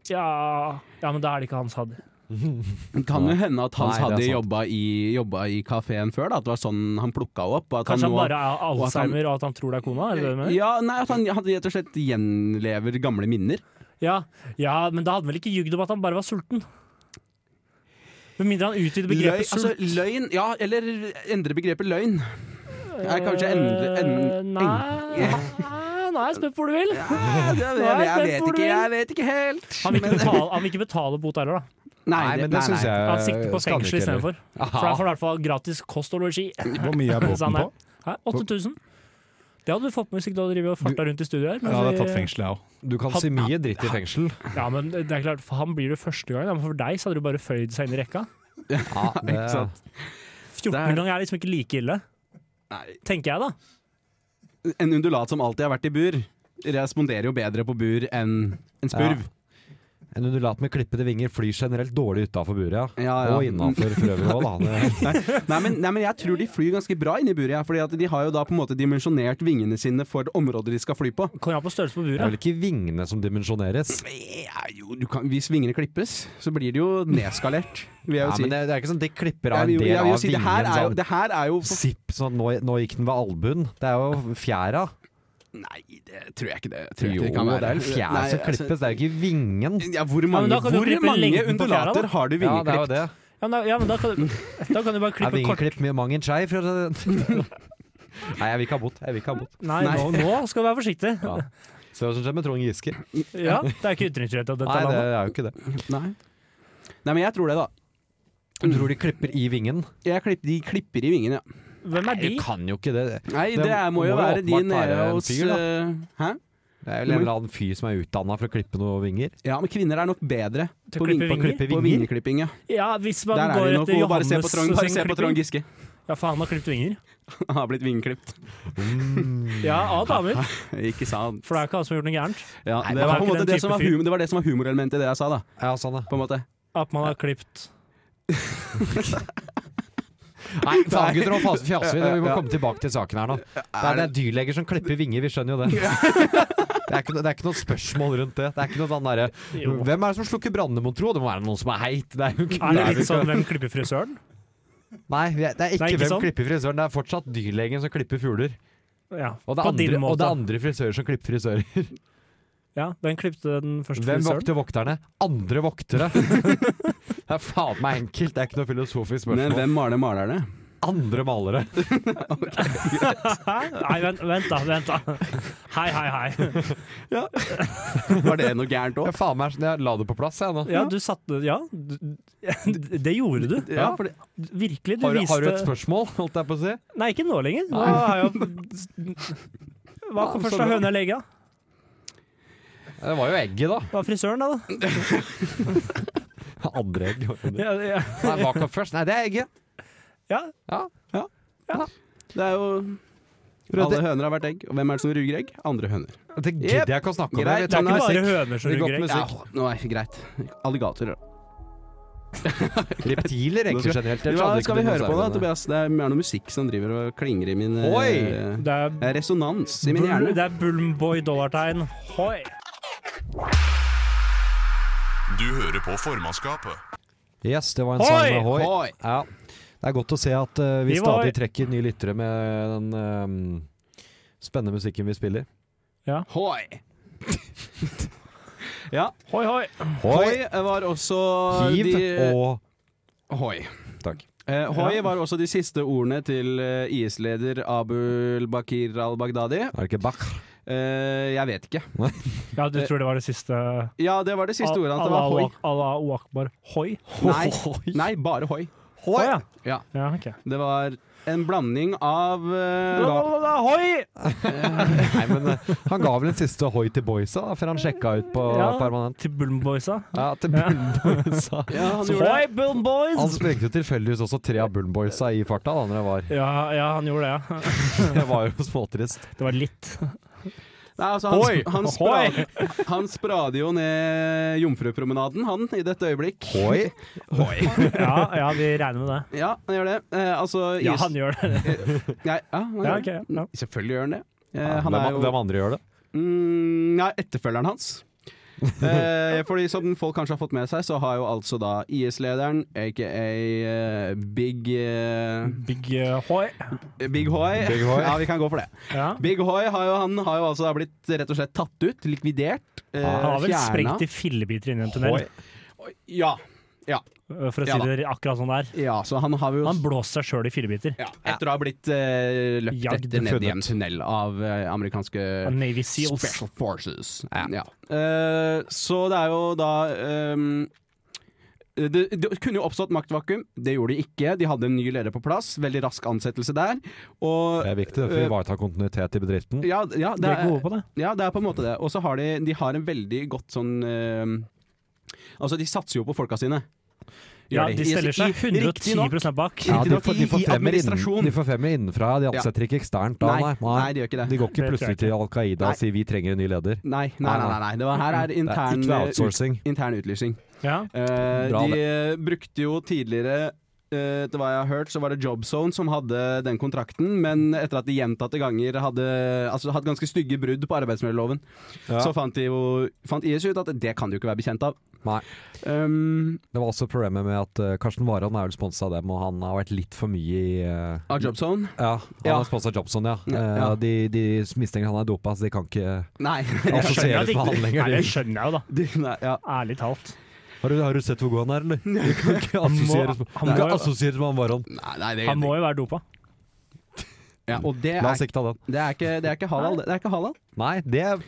[SPEAKER 7] Ja, ja, men da er det ikke Hans Haddy.
[SPEAKER 5] Kan jo hende at
[SPEAKER 6] Nei,
[SPEAKER 5] Hans
[SPEAKER 6] det er
[SPEAKER 5] hadde
[SPEAKER 6] sant.
[SPEAKER 5] jobba i, jobba i kafeen før, da. At det var sånn han plukka opp. og At
[SPEAKER 7] Kanskje han
[SPEAKER 5] nå-
[SPEAKER 7] bare er
[SPEAKER 5] og at han-
[SPEAKER 7] alzheimer og at han tror det er kona? Er det det du mener?
[SPEAKER 5] Ja, nei, at han han rett og slett gjenlever gamle minner.
[SPEAKER 7] Ja, ja, men da hadde han vel ikke ljugd om at han bare var sulten? Med mindre han utvider begrepet
[SPEAKER 5] Løgn- altså,
[SPEAKER 7] sult.
[SPEAKER 5] løgn Ja, eller endre begrepet løgn. Er kanskje endre
[SPEAKER 7] Eh,
[SPEAKER 5] en,
[SPEAKER 7] Nei, nå er jeg spent på hvor du vil.
[SPEAKER 5] Ja, Ah, det- jeg, jeg, jeg vet ikke, jeg vet ikke helt.
[SPEAKER 7] Han vil ikke betale, han vil ikke betale bot heller, da.
[SPEAKER 5] Nei,
[SPEAKER 6] Nei, men det syns jeg
[SPEAKER 7] Han sikter på
[SPEAKER 6] Eh, skal han
[SPEAKER 7] fengsel
[SPEAKER 6] ikke heller.
[SPEAKER 7] istedenfor. For da får du i hvert fall gratis kost og losji.
[SPEAKER 8] Hvor mye er
[SPEAKER 7] Så han
[SPEAKER 8] båten på?
[SPEAKER 7] er- Hæ? 8000? Det hadde du fått med hvis ikke du hadde drivet og farta rundt i studio her.
[SPEAKER 8] Ja,
[SPEAKER 7] men
[SPEAKER 8] det er
[SPEAKER 7] vi-
[SPEAKER 8] tatt fengsel, jeg òg.
[SPEAKER 6] Du kan si mye dritt i fengsel.
[SPEAKER 7] Ja, men det er klart, for han blir det første gang, da, men for deg så hadde du bare føyd seg inn i rekka.
[SPEAKER 6] Ja, det,
[SPEAKER 5] Ikke sant?
[SPEAKER 7] 14
[SPEAKER 5] Det er-
[SPEAKER 7] ganger er liksom ikke like ille,
[SPEAKER 5] Nei.
[SPEAKER 7] tenker jeg da.
[SPEAKER 5] En undulat som alltid har vært i bur, responderer jo bedre på bur enn en spurv.
[SPEAKER 6] En undulat med klippede vinger flyr generelt dårlig utafor buret. Ja.
[SPEAKER 5] Ja, ja. Mm.
[SPEAKER 6] Og innafor for øvrig òg, da. Det-
[SPEAKER 5] Nei, men, nei, men jeg tror de flyr ganske bra inn i buret, ja, Fordi at de har jo da på en måte dimensjonert vingene sine for områder de skal fly på.
[SPEAKER 7] Kommer an på størrelse på
[SPEAKER 6] Det er
[SPEAKER 7] buret.
[SPEAKER 6] vel ikke vingene som dimensjoneres.
[SPEAKER 5] Ja, jo, du kan, hvis vingene klippes, så blir det jo nedskalert, vil jeg
[SPEAKER 6] Ja,
[SPEAKER 5] jo si.
[SPEAKER 6] men det, det er ikke sånn de klipper av
[SPEAKER 5] jeg
[SPEAKER 6] en
[SPEAKER 5] vil, jo-
[SPEAKER 6] del
[SPEAKER 5] jeg vil
[SPEAKER 6] av
[SPEAKER 5] jo si, det her
[SPEAKER 6] vingen.
[SPEAKER 5] er jo,
[SPEAKER 6] sånn,
[SPEAKER 5] det her er jo for,
[SPEAKER 6] Sipp, sånn nå, nå gikk den ved albuen. Det er jo fjæra.
[SPEAKER 5] Nei, det tror jeg ikke det, tror jeg
[SPEAKER 6] Jo,
[SPEAKER 5] ikke
[SPEAKER 6] det
[SPEAKER 5] det kan være.
[SPEAKER 6] er jo fjæra
[SPEAKER 5] Nei,
[SPEAKER 6] som
[SPEAKER 5] altså,
[SPEAKER 6] klippes, det er jo ikke vingen.
[SPEAKER 5] Ja, hvor
[SPEAKER 7] men
[SPEAKER 5] mange,
[SPEAKER 7] da kan du
[SPEAKER 5] hvor
[SPEAKER 7] klippe
[SPEAKER 5] mange
[SPEAKER 7] lengden på fjæra, da.
[SPEAKER 5] undulater har du
[SPEAKER 6] Ja, det er jo
[SPEAKER 5] vingeklipp?
[SPEAKER 6] det.
[SPEAKER 7] Ja, men da, ja, men da, kan, du- da kan du bare
[SPEAKER 6] Er
[SPEAKER 7] klippe kort.
[SPEAKER 6] vingeklipp med mang en skei? for å si det- sånn. Nei, jeg vil ikke ha bot. Jeg vil ikke ha bot.
[SPEAKER 7] Nei,
[SPEAKER 5] Nei.
[SPEAKER 7] Nå, nå skal du være forsiktig.
[SPEAKER 6] Ja. Se hva som skjer med Trond Giske.
[SPEAKER 7] Ja, Det er ikke ytringsfrihet av dette
[SPEAKER 6] Nei, det
[SPEAKER 7] landet.
[SPEAKER 6] er jo ikke det.
[SPEAKER 5] Nei. Nei, men jeg tror det, da.
[SPEAKER 6] Du tror de klipper i vingen?
[SPEAKER 5] Jeg klipp, de klipper i vingene, ja.
[SPEAKER 7] Hvem er de?
[SPEAKER 6] Du kan jo ikke det.
[SPEAKER 5] Nei,
[SPEAKER 6] Det
[SPEAKER 5] det, er, må
[SPEAKER 6] må
[SPEAKER 5] jo
[SPEAKER 6] jo
[SPEAKER 5] være de
[SPEAKER 6] åpenbart være
[SPEAKER 5] nede
[SPEAKER 6] en
[SPEAKER 5] hos
[SPEAKER 6] fyr, da.
[SPEAKER 5] eh, Hæ?
[SPEAKER 6] Det er vel en eller annen fyr som er utdanna for å klippe noen vinger.
[SPEAKER 5] Ja, men kvinner er nok bedre
[SPEAKER 7] Til å
[SPEAKER 5] på,
[SPEAKER 7] klippe
[SPEAKER 5] ving- på,
[SPEAKER 7] vinger?
[SPEAKER 5] klippe på
[SPEAKER 6] Vinger?
[SPEAKER 5] vingeklipping. Ja.
[SPEAKER 7] Ja, Hvis man
[SPEAKER 5] Der er
[SPEAKER 7] går
[SPEAKER 5] de nok.
[SPEAKER 7] etter
[SPEAKER 5] og Bare se på
[SPEAKER 7] Johannes
[SPEAKER 5] Trond,
[SPEAKER 7] sin
[SPEAKER 5] bare se på Trond
[SPEAKER 7] klipping.
[SPEAKER 5] Giske.
[SPEAKER 7] Ja, for han har klippet vinger.
[SPEAKER 5] Han har blitt vingeklipt.
[SPEAKER 6] Mm.
[SPEAKER 7] Ja, av damer.
[SPEAKER 5] Ikke sant.
[SPEAKER 7] For det er ikke han som har gjort noe gærent.
[SPEAKER 5] Ja,
[SPEAKER 7] Nei,
[SPEAKER 5] det,
[SPEAKER 7] men han er
[SPEAKER 5] var på en
[SPEAKER 7] ikke
[SPEAKER 5] måte
[SPEAKER 7] den
[SPEAKER 5] det,
[SPEAKER 7] type
[SPEAKER 5] som var
[SPEAKER 7] fyr.
[SPEAKER 5] humor, det var det som var humorelementet i det jeg sa, da.
[SPEAKER 6] Ja, sånn ja.
[SPEAKER 5] På en måte.
[SPEAKER 7] At man har klippet
[SPEAKER 6] Nei, faen gutter, nå fas- fjaser vi. Vi må komme tilbake til saken her nå. Det er, det er dyrleger som klipper vinger, vi skjønner jo det. Det er, ikke noe, det er ikke noe spørsmål rundt det. Det er ikke noe sånn derre
[SPEAKER 7] Jo.
[SPEAKER 6] Hvem er det som slukker brannene, mon tro? Det må være noen som er heit. Det er jo ikke
[SPEAKER 7] Er det
[SPEAKER 6] der vi
[SPEAKER 7] litt sånn
[SPEAKER 6] skal-
[SPEAKER 7] hvem klipper frisøren?
[SPEAKER 6] Nei, vi er- det er ikke,
[SPEAKER 7] Nei, ikke
[SPEAKER 6] hvem
[SPEAKER 7] sånn.
[SPEAKER 6] klipper frisøren. Det er fortsatt dyrlegen som klipper fugler.
[SPEAKER 7] Ja,
[SPEAKER 6] Og det,
[SPEAKER 7] på
[SPEAKER 6] er andre,
[SPEAKER 7] din
[SPEAKER 6] og det
[SPEAKER 7] måte.
[SPEAKER 6] er andre frisører som klipper frisører.
[SPEAKER 7] Ja, Hvem klipte den første
[SPEAKER 6] Hvem
[SPEAKER 7] frisøren?
[SPEAKER 6] vokter vokterne? Andre voktere! Det er faen meg enkelt. Det er ikke noe filosofisk
[SPEAKER 5] Men
[SPEAKER 6] spørsmål.
[SPEAKER 5] hvem maler malerne?
[SPEAKER 6] Andre malere.
[SPEAKER 7] Hæ? Nei, vent, vent da. vent da Hei, hei, hei.
[SPEAKER 5] Var det noe gærent
[SPEAKER 6] Ja,
[SPEAKER 5] òg?
[SPEAKER 6] faen meg, jeg la det på plass, jeg nå.
[SPEAKER 7] Ja, du satte Ja, du, det gjorde du.
[SPEAKER 5] Ja, for det-
[SPEAKER 7] Virkelig. Du
[SPEAKER 6] Har, du-
[SPEAKER 7] viste
[SPEAKER 6] har du et spørsmål, holdt jeg på å si?
[SPEAKER 7] Nei, ikke nå lenger. Nå har jeg jo Hva kom først av høna eller egget?
[SPEAKER 6] Det var jo egget, da.
[SPEAKER 7] Det var frisøren, da. da.
[SPEAKER 6] Andre egg. Nei,
[SPEAKER 7] Ja, ja.
[SPEAKER 6] hva kom først? Nei, det er egget.
[SPEAKER 7] ja.
[SPEAKER 6] Ja.
[SPEAKER 5] Det er jo Alle høner har vært egg, og hvem er det som ruger egg? Andre høner.
[SPEAKER 6] Det gidder jeg ikke å snakke om.
[SPEAKER 5] Greit,
[SPEAKER 6] Jeg
[SPEAKER 7] Det
[SPEAKER 6] tar ikke
[SPEAKER 7] er ikke
[SPEAKER 6] musikk.
[SPEAKER 7] bare høner som
[SPEAKER 6] Det er godt
[SPEAKER 7] ruger egg.
[SPEAKER 5] Ja, nå er det greit. Alligatorer.
[SPEAKER 6] Reptiler, egentlig, generelt. Jeg
[SPEAKER 5] Ja,
[SPEAKER 6] trodde ikke
[SPEAKER 5] skal vi
[SPEAKER 6] det var
[SPEAKER 5] høre på
[SPEAKER 6] noe særlig
[SPEAKER 5] da,
[SPEAKER 6] med
[SPEAKER 5] Tobias? Det er mer noe musikk som driver og klinger i min eh,
[SPEAKER 6] Oi!
[SPEAKER 7] Det er,
[SPEAKER 5] Det er resonans i min
[SPEAKER 7] bull,
[SPEAKER 5] hjerne.
[SPEAKER 7] det er Bullboy dollartegn. Hoi!
[SPEAKER 1] Du hører på formannskapet.
[SPEAKER 6] Yes, det var en
[SPEAKER 7] Hoi!
[SPEAKER 6] sang med hoi.
[SPEAKER 5] Hoi!
[SPEAKER 6] Ja. Det er godt å se at eh, vi
[SPEAKER 7] Vi var-
[SPEAKER 6] stadig trekker nye lyttere med den eh, spennende musikken vi spiller.
[SPEAKER 5] Hoi! ja.
[SPEAKER 7] Hoi, hoi!
[SPEAKER 5] Hoi var også
[SPEAKER 6] Hiv
[SPEAKER 5] de
[SPEAKER 6] og
[SPEAKER 5] Hoi.
[SPEAKER 6] Takk.
[SPEAKER 5] Eh, hoi var også de siste ordene til eh, IS-leder Abul Bakir al-Baghdadi.
[SPEAKER 6] Er det ikke Bach?
[SPEAKER 5] Eh, jeg vet ikke.
[SPEAKER 7] Ja, du tror det var det siste
[SPEAKER 5] Ja, det var det siste ordet. at Det var hoi.
[SPEAKER 7] Allah- Allahu akbar. Hoi?
[SPEAKER 5] Nei, nei bare hoi.
[SPEAKER 7] Hoi! Ja,
[SPEAKER 5] Ja.
[SPEAKER 7] ja ok.
[SPEAKER 5] Det var en blanding av eh,
[SPEAKER 7] Hoi!
[SPEAKER 6] Nei, men eh, han ga vel en siste hoi til boysa da, før han sjekka ut på
[SPEAKER 7] Ja.
[SPEAKER 6] permanent.
[SPEAKER 7] Til Bullboysa.
[SPEAKER 6] Ja, til Bullboysa.
[SPEAKER 5] Ja, han
[SPEAKER 7] Så
[SPEAKER 5] gjorde det. Altså-
[SPEAKER 7] Hoi, Bullboys!
[SPEAKER 6] Han sprengte jo tilfeldigvis også tre av Bullboysa i farta da når jeg var
[SPEAKER 7] Ja, ja, han gjorde det, ja.
[SPEAKER 6] Det var jo småtrist.
[SPEAKER 7] Det var litt.
[SPEAKER 5] Nei, altså, han,
[SPEAKER 7] Hoi!
[SPEAKER 5] han, spra, han sprader jo ned Jomfrupromenaden, han, i dette øyeblikk.
[SPEAKER 6] Hoi.
[SPEAKER 7] Ja, ja, vi regner med det.
[SPEAKER 5] Ja, han gjør det. Eh, altså
[SPEAKER 7] Ja,
[SPEAKER 5] is-
[SPEAKER 7] han gjør det.
[SPEAKER 5] Nei, ja, han
[SPEAKER 7] Ja,
[SPEAKER 5] gjør
[SPEAKER 7] ok,
[SPEAKER 5] det.
[SPEAKER 7] ja.
[SPEAKER 5] Selvfølgelig gjør han det. Eh, han
[SPEAKER 6] Hvem,
[SPEAKER 5] er jo
[SPEAKER 6] hvem andre gjør det?
[SPEAKER 5] mm, Nei, etterfølgeren hans. Eh, fordi Som folk kanskje har fått med seg, så har jo altså da IS-lederen, aka eh, Big eh,
[SPEAKER 7] Big eh, hoi.
[SPEAKER 5] Big Hoi.
[SPEAKER 6] Big Hoi.
[SPEAKER 5] Ja, vi kan gå for det.
[SPEAKER 7] Ja.
[SPEAKER 5] Big Hoi har jo, han har jo altså da blitt rett og slett tatt ut, likvidert. Eh,
[SPEAKER 7] Han har vel sprengt
[SPEAKER 5] fjerna.
[SPEAKER 7] i fillebiter inni en tunnel, eh,
[SPEAKER 5] Ja. Ja,
[SPEAKER 7] for å
[SPEAKER 5] Ja
[SPEAKER 7] si det akkurat sånn der.
[SPEAKER 5] ja, så han har jo
[SPEAKER 7] Han blåser seg sjøl i fillebiter.
[SPEAKER 5] ja, Etter å ha blitt eh, løpt
[SPEAKER 7] Jagd,
[SPEAKER 5] etter ned i en
[SPEAKER 6] funnet.
[SPEAKER 5] tunnel av eh, amerikanske
[SPEAKER 7] Av Navy Seals.
[SPEAKER 5] Special Forces. Ja. Eh, så det er jo da ehm, det, det kunne jo oppstått maktvakuum, det gjorde de ikke. De hadde en ny leder på plass, veldig rask ansettelse der. Og
[SPEAKER 6] Det er viktig for å ivareta kontinuitet i bedriften.
[SPEAKER 5] Eh, ja, ja,
[SPEAKER 7] De er gode på det.
[SPEAKER 5] Ja, det er på en måte det. Og så har de, de har en veldig godt sånn eh, Altså, de satser jo på folka sine.
[SPEAKER 7] Ja,
[SPEAKER 5] Gjør
[SPEAKER 7] de stiller
[SPEAKER 5] I-
[SPEAKER 7] seg
[SPEAKER 5] i- riktig nok-
[SPEAKER 7] 110 bak.
[SPEAKER 6] Ja, de,
[SPEAKER 5] Riktignok
[SPEAKER 6] for, de,
[SPEAKER 5] i- i
[SPEAKER 6] forfremmer innen,
[SPEAKER 5] administrasjon.
[SPEAKER 6] de forfremmer innenfra, de ansetter ikke eksternt da,
[SPEAKER 5] Nei,
[SPEAKER 6] nei.
[SPEAKER 5] nei, de gjør ikke det.
[SPEAKER 6] De går ikke
[SPEAKER 7] Det tror jeg
[SPEAKER 6] plutselig til Al Qaida
[SPEAKER 5] Nei.
[SPEAKER 6] og sier 'vi trenger en ny leder'.
[SPEAKER 5] Nei, nei, nei. nei, nei. Det var, her er
[SPEAKER 6] Det er
[SPEAKER 5] intern, eh,
[SPEAKER 6] ikke outsourcing.
[SPEAKER 5] intern utlysning.
[SPEAKER 7] Ja.
[SPEAKER 5] Eh,
[SPEAKER 6] Bra,
[SPEAKER 5] de eh, brukte jo tidligere eh, Etter hva jeg har hørt, så var det JobZone som hadde den kontrakten, men etter at de gjentatte ganger hadde altså, hatt ganske stygge brudd på arbeidsmiljøloven,
[SPEAKER 6] Ja.
[SPEAKER 5] så fant, de jo, fant IS ut at det kan de jo ikke være bekjent av.
[SPEAKER 6] Nei.
[SPEAKER 5] Um,
[SPEAKER 6] Det var også problemet med at eh, Karsten Warholm er vel sponsa av dem, og han har vært litt for mye i eh,
[SPEAKER 5] av JobZone?
[SPEAKER 6] Ja, han
[SPEAKER 5] Ja.
[SPEAKER 6] har sponsa Jobson, ja. Eh,
[SPEAKER 5] Ja.
[SPEAKER 6] De, de mistenker han er dopa, så de kan ikke
[SPEAKER 5] Nei.
[SPEAKER 7] Jeg skjønner
[SPEAKER 6] assosieres
[SPEAKER 7] at
[SPEAKER 6] med han
[SPEAKER 7] ikke- Nei,
[SPEAKER 6] lenger.
[SPEAKER 7] det skjønner jeg jo, da.
[SPEAKER 5] De, nei ja.
[SPEAKER 7] Ærlig talt.
[SPEAKER 6] Har du, har du sett hvor god han er, eller? De kan ikke
[SPEAKER 7] Han må-
[SPEAKER 6] assosieres altså, med
[SPEAKER 7] han
[SPEAKER 6] de kan
[SPEAKER 7] må-
[SPEAKER 6] assosieres med han Warholm.
[SPEAKER 5] Nei, nei, det,
[SPEAKER 7] Han må jo være dopa.
[SPEAKER 5] ja, og det
[SPEAKER 6] La oss
[SPEAKER 5] er,
[SPEAKER 6] ikke ta den.
[SPEAKER 5] det, er ikke, det er ikke halal. Det Det er ikke halal.
[SPEAKER 6] Nei, det er,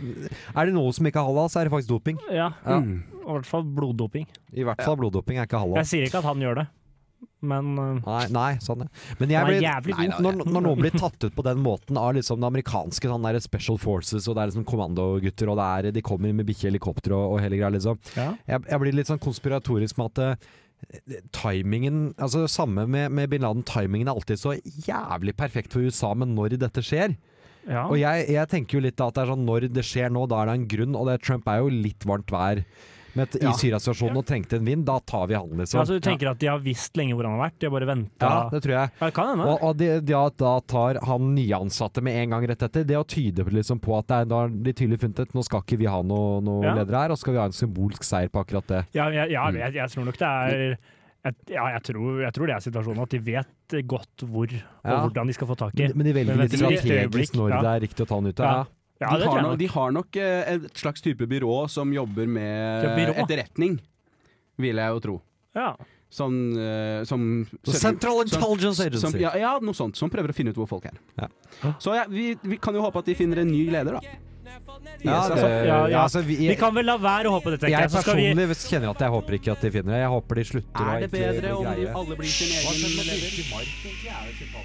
[SPEAKER 6] er det noe som ikke er halal, så er det faktisk doping.
[SPEAKER 7] Ja,
[SPEAKER 6] Ja.
[SPEAKER 5] Mm.
[SPEAKER 7] I hvert fall bloddoping.
[SPEAKER 6] I hvert fall bloddoping er ikke halal.
[SPEAKER 7] Jeg sier ikke at han gjør det, men uh,
[SPEAKER 6] Nei, nei, sånn ja. Men jeg
[SPEAKER 7] Han er
[SPEAKER 6] blir,
[SPEAKER 7] jævlig
[SPEAKER 6] nei,
[SPEAKER 5] god.
[SPEAKER 6] når, når noen blir tatt ut på den måten av liksom det amerikanske sånn der Special Forces og det er liksom kommandogutter og det er, de kommer med bikkje helikopter og, og hele greia, liksom.
[SPEAKER 7] ja.
[SPEAKER 6] Jeg, jeg blir litt sånn konspiratorisk med at eh, timingen Altså samme med, med bin Laden, timingen er alltid så jævlig perfekt for USA, men når dette skjer
[SPEAKER 7] ja.
[SPEAKER 6] Og jeg, jeg tenker jo litt da at det er sånn når det skjer nå, da er det en grunn, og det, Trump er jo litt varmt vær. Men at i
[SPEAKER 5] Ja.
[SPEAKER 6] Syria-situasjonen og trengte en vind, da tar vi han,
[SPEAKER 7] Ja,
[SPEAKER 6] liksom.
[SPEAKER 7] altså, du tenker at de har visst lenge hvor han har vært? De har bare venta
[SPEAKER 6] ja, det tror jeg.
[SPEAKER 7] Ja, det kan hende.
[SPEAKER 6] Og, og de, de at da tar han nyansatte med en gang rett etter. Det å tyde liksom på at det er, da har de tydelig funnet ut nå skal ikke vi ha noen noe
[SPEAKER 7] Ja.
[SPEAKER 6] ledere her, og skal vi ha en symbolsk seier på akkurat det.
[SPEAKER 7] Ja, jeg,
[SPEAKER 6] Mm.
[SPEAKER 7] ja, jeg, jeg tror nok det er jeg, ja, jeg, tror, jeg tror det er situasjonen, at de vet godt hvor og
[SPEAKER 6] Ja.
[SPEAKER 7] hvordan de skal få tak i.
[SPEAKER 6] Men de velger
[SPEAKER 7] Men
[SPEAKER 6] litt
[SPEAKER 7] venter i et
[SPEAKER 6] strategisk
[SPEAKER 7] øyeblikk,
[SPEAKER 6] når
[SPEAKER 7] ja.
[SPEAKER 6] det er riktig å ta han ut. Ja.
[SPEAKER 7] Ja. Ja, det
[SPEAKER 5] de,
[SPEAKER 7] tror
[SPEAKER 5] har
[SPEAKER 7] jeg
[SPEAKER 5] nok,
[SPEAKER 7] nok.
[SPEAKER 5] de har nok eh, et slags type byrå som jobber med
[SPEAKER 7] Ja, byrå.
[SPEAKER 5] etterretning, vil jeg jo tro.
[SPEAKER 7] Ja.
[SPEAKER 5] Som, eh, som
[SPEAKER 6] Så Central Intelligence Agency.
[SPEAKER 5] Som, ja, ja, noe sånt. Som prøver å finne ut hvor folk er.
[SPEAKER 6] Ja.
[SPEAKER 5] Så ja, vi, vi kan jo håpe at de finner en ny leder, da.
[SPEAKER 6] Ja,
[SPEAKER 5] Yes,
[SPEAKER 6] det,
[SPEAKER 5] altså.
[SPEAKER 7] ja, ja.
[SPEAKER 6] altså, vi,
[SPEAKER 7] Vi kan vel la være å håpe det, tenker
[SPEAKER 6] jeg
[SPEAKER 7] jeg. Så skal vi
[SPEAKER 6] personlig kjenner at jeg håper ikke at de finner det. Jeg håper de slutter å
[SPEAKER 5] Er det
[SPEAKER 6] egentlig
[SPEAKER 5] bedre om
[SPEAKER 6] greie.
[SPEAKER 5] alle blir sin egen leder?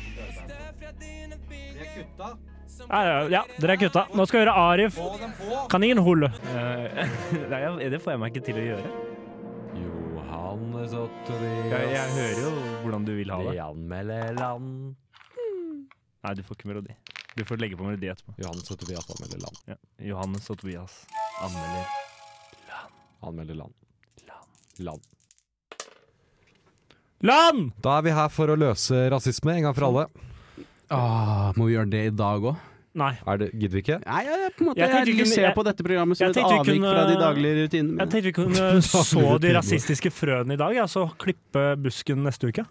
[SPEAKER 7] ja, ja, ja, dere er gutta. Nå skal vi høre Arif. Kaninhull.
[SPEAKER 2] Eh, Nei, det får jeg meg ikke til å gjøre.
[SPEAKER 6] Johannes og
[SPEAKER 2] Jeg, jeg
[SPEAKER 6] Tobias,
[SPEAKER 2] hører jo hvordan du vil ha det.
[SPEAKER 6] de anmelder land.
[SPEAKER 2] Nei, du får ikke melodi.
[SPEAKER 9] Du får legge på melodi etterpå.
[SPEAKER 6] Johannes og Tobias anmelder land.
[SPEAKER 9] Ja. Johannes og Tobias anmelder.
[SPEAKER 6] Anmelder land. Land.
[SPEAKER 9] Land!
[SPEAKER 6] Da er vi her for å løse rasisme en gang for alle.
[SPEAKER 5] Åh, Ah, må vi gjøre det i dag òg?
[SPEAKER 7] Nei.
[SPEAKER 6] Er det, gidder vi ikke?
[SPEAKER 5] Nei, jeg, jeg, på en måte,
[SPEAKER 7] Jeg
[SPEAKER 5] jeg,
[SPEAKER 7] tenkte vi kunne-
[SPEAKER 5] ser på dette programmet som
[SPEAKER 7] jeg
[SPEAKER 5] et
[SPEAKER 7] tenkte vi
[SPEAKER 5] avvik
[SPEAKER 7] kunne-
[SPEAKER 5] fra de daglige rutinene.
[SPEAKER 7] Jeg
[SPEAKER 5] mine.
[SPEAKER 7] tenkte vi kunne så de rasistiske frøene i dag, ja, så klippe busken neste uke.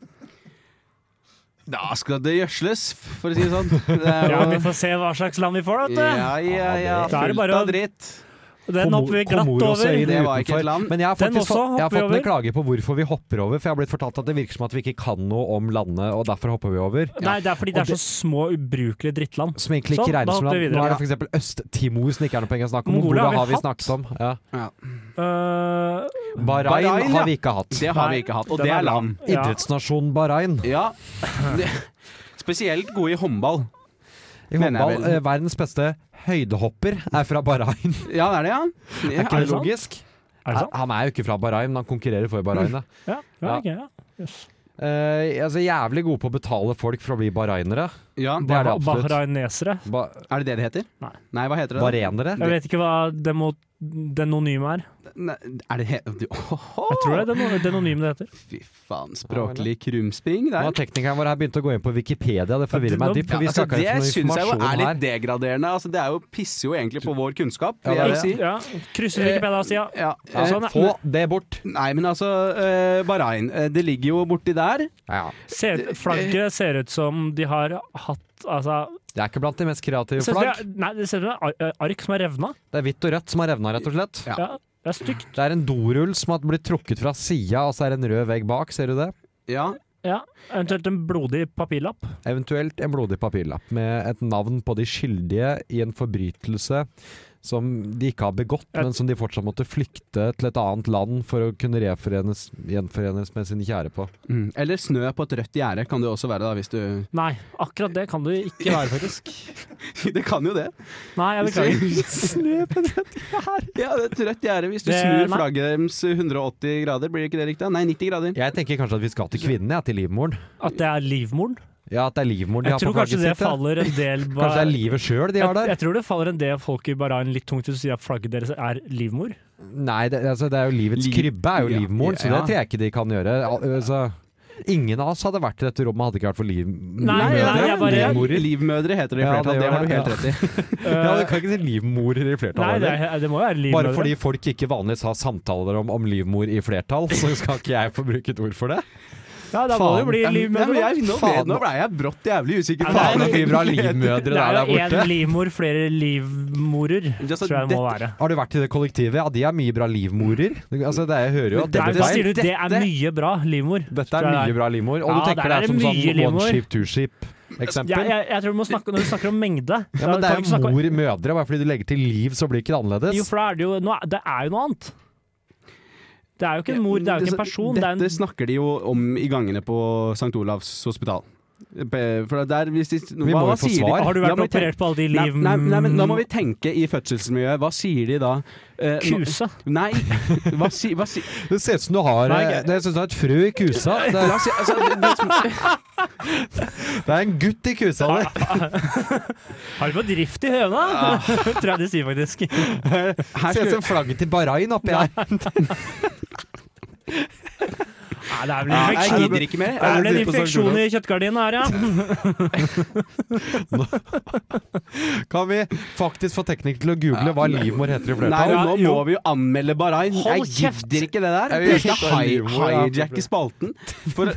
[SPEAKER 5] Da skal det gjødsles, for å si det sånn. Det er
[SPEAKER 7] Ja,
[SPEAKER 5] jo-
[SPEAKER 7] Vi får se hva slags land vi får, da. vet
[SPEAKER 5] Ja, ja, ja.
[SPEAKER 7] Da er det
[SPEAKER 5] Fullt
[SPEAKER 7] bare å-
[SPEAKER 5] av dritt.
[SPEAKER 7] du. Den hopper vi glatt
[SPEAKER 6] Komoros
[SPEAKER 7] over.
[SPEAKER 6] øyene
[SPEAKER 5] Det var ikke
[SPEAKER 6] utenfor.
[SPEAKER 5] et land.
[SPEAKER 6] Men jeg har
[SPEAKER 7] Den
[SPEAKER 6] faktisk
[SPEAKER 7] også
[SPEAKER 6] fått, jeg har
[SPEAKER 7] hopper vi
[SPEAKER 6] fått en
[SPEAKER 7] over.
[SPEAKER 6] klage på hvorfor vi hopper over, for jeg har blitt fortalt at det virker som at vi ikke kan noe om landet, og derfor hopper vi over.
[SPEAKER 7] Nei, det er fordi det er så små, ubrukelige drittland.
[SPEAKER 6] Som egentlig
[SPEAKER 7] Sånn,
[SPEAKER 6] ikke
[SPEAKER 7] da
[SPEAKER 6] regnes som land.
[SPEAKER 7] hopper vi
[SPEAKER 6] Nå er
[SPEAKER 7] videre.
[SPEAKER 6] det f.eks. Øst-Timor som det ikke er noe penger å snakke om.
[SPEAKER 7] Mongolia
[SPEAKER 6] Mongolia
[SPEAKER 7] har vi
[SPEAKER 6] har vi
[SPEAKER 7] hatt.
[SPEAKER 6] snakket om. Ja.
[SPEAKER 7] Øh,
[SPEAKER 6] Bahrain,
[SPEAKER 5] Bahrain, ja.
[SPEAKER 6] har vi ikke hatt.
[SPEAKER 5] Det har
[SPEAKER 7] Nei,
[SPEAKER 5] vi ikke hatt, og
[SPEAKER 7] den
[SPEAKER 5] det
[SPEAKER 7] er
[SPEAKER 5] er land.
[SPEAKER 7] ja.
[SPEAKER 6] Idrettsnasjon Bahrain.
[SPEAKER 5] Ja. Det, spesielt gode i håndball.
[SPEAKER 6] I
[SPEAKER 5] Mener jeg
[SPEAKER 6] håndball,
[SPEAKER 5] vel.
[SPEAKER 6] eh, verdens beste høydehopper er fra Bahrain.
[SPEAKER 5] Ja, det er det, ja. ja.
[SPEAKER 6] Er ikke
[SPEAKER 7] det
[SPEAKER 6] det
[SPEAKER 7] sant?
[SPEAKER 6] logisk?
[SPEAKER 7] Er det sant?
[SPEAKER 6] Han er jo ikke fra Bahrain, men han konkurrerer for Bahrain. da.
[SPEAKER 7] Ja, ja, ok, ja.
[SPEAKER 6] Eh, altså, jævlig gode på å betale folk for å bli bahrainere.
[SPEAKER 5] ja.
[SPEAKER 6] Det er det absolutt.
[SPEAKER 7] Bahrainesere.
[SPEAKER 6] Ba
[SPEAKER 5] Er det det det heter?
[SPEAKER 7] Nei.
[SPEAKER 5] Nei, hva heter det? da?
[SPEAKER 6] Bahrainere?
[SPEAKER 7] Jeg vet ikke hva demo, denonyme er.
[SPEAKER 5] Nei, er det he du- Åhå!
[SPEAKER 7] Jeg tror det er deno- denonyme det heter.
[SPEAKER 5] Fy faen, språklig krumspring
[SPEAKER 6] Nå
[SPEAKER 5] der.
[SPEAKER 6] har teknikeren vår her begynt å gå inn på Wikipedia, det forvirrer meg dypt.
[SPEAKER 5] Ja,
[SPEAKER 6] For vi
[SPEAKER 5] altså,
[SPEAKER 6] snakker
[SPEAKER 5] det
[SPEAKER 6] ikke om noe
[SPEAKER 5] syns jeg jo
[SPEAKER 6] informasjon
[SPEAKER 5] er litt
[SPEAKER 6] her.
[SPEAKER 5] degraderende. Altså, det er jo, pisser jo egentlig på vår kunnskap,
[SPEAKER 6] Ja, det
[SPEAKER 5] vil
[SPEAKER 6] er
[SPEAKER 5] jeg
[SPEAKER 6] det.
[SPEAKER 5] si.
[SPEAKER 7] Ja, Krysser Wikipedia-sida.
[SPEAKER 5] Ja,
[SPEAKER 7] Ja,
[SPEAKER 5] eh,
[SPEAKER 7] sånn, ja.
[SPEAKER 6] Få det bort!
[SPEAKER 5] Nei, men altså, eh, Bahrain, eh, det ligger jo borti der.
[SPEAKER 6] Ja, Eh,
[SPEAKER 7] Ser, flagget ser ut som de har hatt altså,
[SPEAKER 6] det er ikke blant de mest kreative
[SPEAKER 7] ser ut som de
[SPEAKER 6] flagg.
[SPEAKER 7] har- Nei, det ser ut som det er ar- ark som er revna.
[SPEAKER 6] Det er hvitt og rødt som har revna, rett og slett.
[SPEAKER 5] Ja.
[SPEAKER 7] Ja, det er stygt.
[SPEAKER 6] Det er en dorull som har blitt trukket fra sida, og så er det en rød vegg bak, ser du det?
[SPEAKER 5] Ja,
[SPEAKER 7] Ja, Eventuelt en blodig papirlapp.
[SPEAKER 6] Eventuelt en blodig papirlapp med et navn på de skyldige i en forbrytelse som de ikke har begått,
[SPEAKER 7] Et-
[SPEAKER 6] men som de fortsatt måtte flykte til et annet land for å kunne reforenes, gjenforenes med sine kjære på.
[SPEAKER 5] Mm. Eller snø på et rødt gjerde kan det jo også være, da, hvis du
[SPEAKER 7] Nei, akkurat det kan det ikke være, faktisk.
[SPEAKER 5] Det kan jo det.
[SPEAKER 7] Nei, jeg beklager.
[SPEAKER 5] snø på et rødt gjerde? Ja, det er et rødt gjerde. Hvis du
[SPEAKER 7] Det-
[SPEAKER 5] snur
[SPEAKER 7] nei.
[SPEAKER 5] flagget deres 180 grader, blir det ikke det riktig? da? Nei, 90 grader.
[SPEAKER 6] Jeg tenker kanskje at vi skal til kvinnen, ja, til livmoren.
[SPEAKER 7] At det er livmoren?
[SPEAKER 6] Ja, at det er livmoren de
[SPEAKER 7] Jeg
[SPEAKER 6] har på
[SPEAKER 7] tror kanskje
[SPEAKER 6] flagget
[SPEAKER 7] det
[SPEAKER 6] sitt. ja.
[SPEAKER 7] faller en del ba-
[SPEAKER 6] Kanskje det er livet sjøl de har
[SPEAKER 7] jeg,
[SPEAKER 6] der?
[SPEAKER 7] jeg tror det faller en del folk i Bahrain litt tungt hvis du sier at flagget deres er livmor.
[SPEAKER 6] Nei, det, altså, det er jo livets
[SPEAKER 5] Liv-
[SPEAKER 6] krybbe er jo
[SPEAKER 5] Ja,
[SPEAKER 6] livmoren, så det
[SPEAKER 5] ja.
[SPEAKER 6] tror jeg ikke de kan gjøre. Al- Altså, ingen av oss hadde vært i dette rommet hadde det ikke vært for liv...
[SPEAKER 7] Nei,
[SPEAKER 6] livmødre.
[SPEAKER 7] nei, jeg bare-
[SPEAKER 6] Livmorer.
[SPEAKER 5] Livmødre heter det i
[SPEAKER 6] Ja, det
[SPEAKER 5] flertall,
[SPEAKER 6] gjør
[SPEAKER 5] det har
[SPEAKER 6] det,
[SPEAKER 5] du helt
[SPEAKER 6] ja.
[SPEAKER 5] rett i.
[SPEAKER 6] Ja, du kan ikke si livmorer i flertall.
[SPEAKER 7] Eh, Nei, det,
[SPEAKER 6] heller.
[SPEAKER 7] er- det må jo være livmødre.
[SPEAKER 6] Bare fordi folk ikke vanligvis har samtaler om, om livmor i flertall, så skal ikke jeg få bruke et ord for det.
[SPEAKER 7] Ja, da må det jo bli
[SPEAKER 5] Ja, men-
[SPEAKER 7] livmødre.
[SPEAKER 5] ja, men jeg- Nå ble,
[SPEAKER 6] Faen.
[SPEAKER 5] nå ble jeg brått jævlig usikker.
[SPEAKER 7] Ja, det er-
[SPEAKER 6] Faen, det blir bra livmødre
[SPEAKER 7] Det
[SPEAKER 6] der,
[SPEAKER 7] er
[SPEAKER 6] der
[SPEAKER 7] jo én
[SPEAKER 6] borte.
[SPEAKER 7] livmor, flere livmorer,
[SPEAKER 5] Ja, så
[SPEAKER 7] tror jeg det må være.
[SPEAKER 6] Har du vært i det kollektivet? Ja, de er mye bra livmorer. Altså, det, jeg hører jo at
[SPEAKER 7] Det
[SPEAKER 6] det
[SPEAKER 7] er,
[SPEAKER 6] blir
[SPEAKER 7] da
[SPEAKER 6] feil.
[SPEAKER 7] sier du det er mye bra livmor.
[SPEAKER 6] Dette er
[SPEAKER 7] tror jeg det
[SPEAKER 6] mye bra livmor. Og du
[SPEAKER 7] Ja,
[SPEAKER 6] tenker
[SPEAKER 7] der
[SPEAKER 6] det
[SPEAKER 7] er
[SPEAKER 6] er
[SPEAKER 7] det
[SPEAKER 6] som
[SPEAKER 7] mye
[SPEAKER 6] sånn
[SPEAKER 7] livmor.
[SPEAKER 6] one ship, two ship-eksempel?
[SPEAKER 7] Jeg, jeg, jeg tror du må snakke, Når du snakker om mengde
[SPEAKER 6] Ja, men
[SPEAKER 7] da
[SPEAKER 6] det
[SPEAKER 7] kan
[SPEAKER 6] er
[SPEAKER 7] vi ikke
[SPEAKER 6] jo
[SPEAKER 7] snakke-
[SPEAKER 6] mor mødre. Bare fordi du legger til liv, så blir ikke det annerledes.
[SPEAKER 7] Jo, for da er det jo nå er- Det er jo noe annet. Det er jo ikke en mor, det er jo ikke en person. Det er
[SPEAKER 5] Dette
[SPEAKER 7] en,
[SPEAKER 5] snakker de jo om i gangene på St. Olavs hospital. Be- For der, hvis de,
[SPEAKER 6] Vi må jo få svar.
[SPEAKER 7] har du
[SPEAKER 5] Da
[SPEAKER 7] vært
[SPEAKER 5] må vi
[SPEAKER 7] operert på alle de
[SPEAKER 5] Nei,
[SPEAKER 7] liv...
[SPEAKER 5] nei, nei, men da må vi tenke i fødselsmiljøet. Hva sier de da? Eh, nå-
[SPEAKER 7] Kuse.
[SPEAKER 5] Nei, hva, si, hva si,
[SPEAKER 6] Det ser ut som du har,
[SPEAKER 5] Nei,
[SPEAKER 6] eh,
[SPEAKER 5] jeg-
[SPEAKER 6] det ser ut som du har et frø i kusa. Det
[SPEAKER 5] la
[SPEAKER 6] er,
[SPEAKER 5] oss si altså, det, det, som-
[SPEAKER 6] det er en gutt i kusa di.
[SPEAKER 7] Har du på drift i høna? tror jeg de sier, faktisk.
[SPEAKER 5] her
[SPEAKER 6] Ser ut
[SPEAKER 5] skulle,
[SPEAKER 6] som flagget til Bahrain oppi her.
[SPEAKER 7] Nei, det er vel en
[SPEAKER 5] jeg
[SPEAKER 7] infeksjon.
[SPEAKER 5] gidder ikke mer.
[SPEAKER 7] Det er vel en
[SPEAKER 6] Jeg sier på sånn Sankt
[SPEAKER 7] infeksjon i kjøttgardinen her, ja.
[SPEAKER 6] Kan vi faktisk få teknikere til å google hva livmor heter i
[SPEAKER 5] Nei,
[SPEAKER 6] flertall?
[SPEAKER 5] nå
[SPEAKER 7] jo.
[SPEAKER 5] må vi jo anmelde Bahrain.
[SPEAKER 7] Hold
[SPEAKER 5] Jeg
[SPEAKER 7] kjeft!
[SPEAKER 5] gidder ikke det der.
[SPEAKER 6] Jeg vil
[SPEAKER 5] Jeg skal
[SPEAKER 6] ikke ha livmor, ja.
[SPEAKER 5] hijacke spalten. For,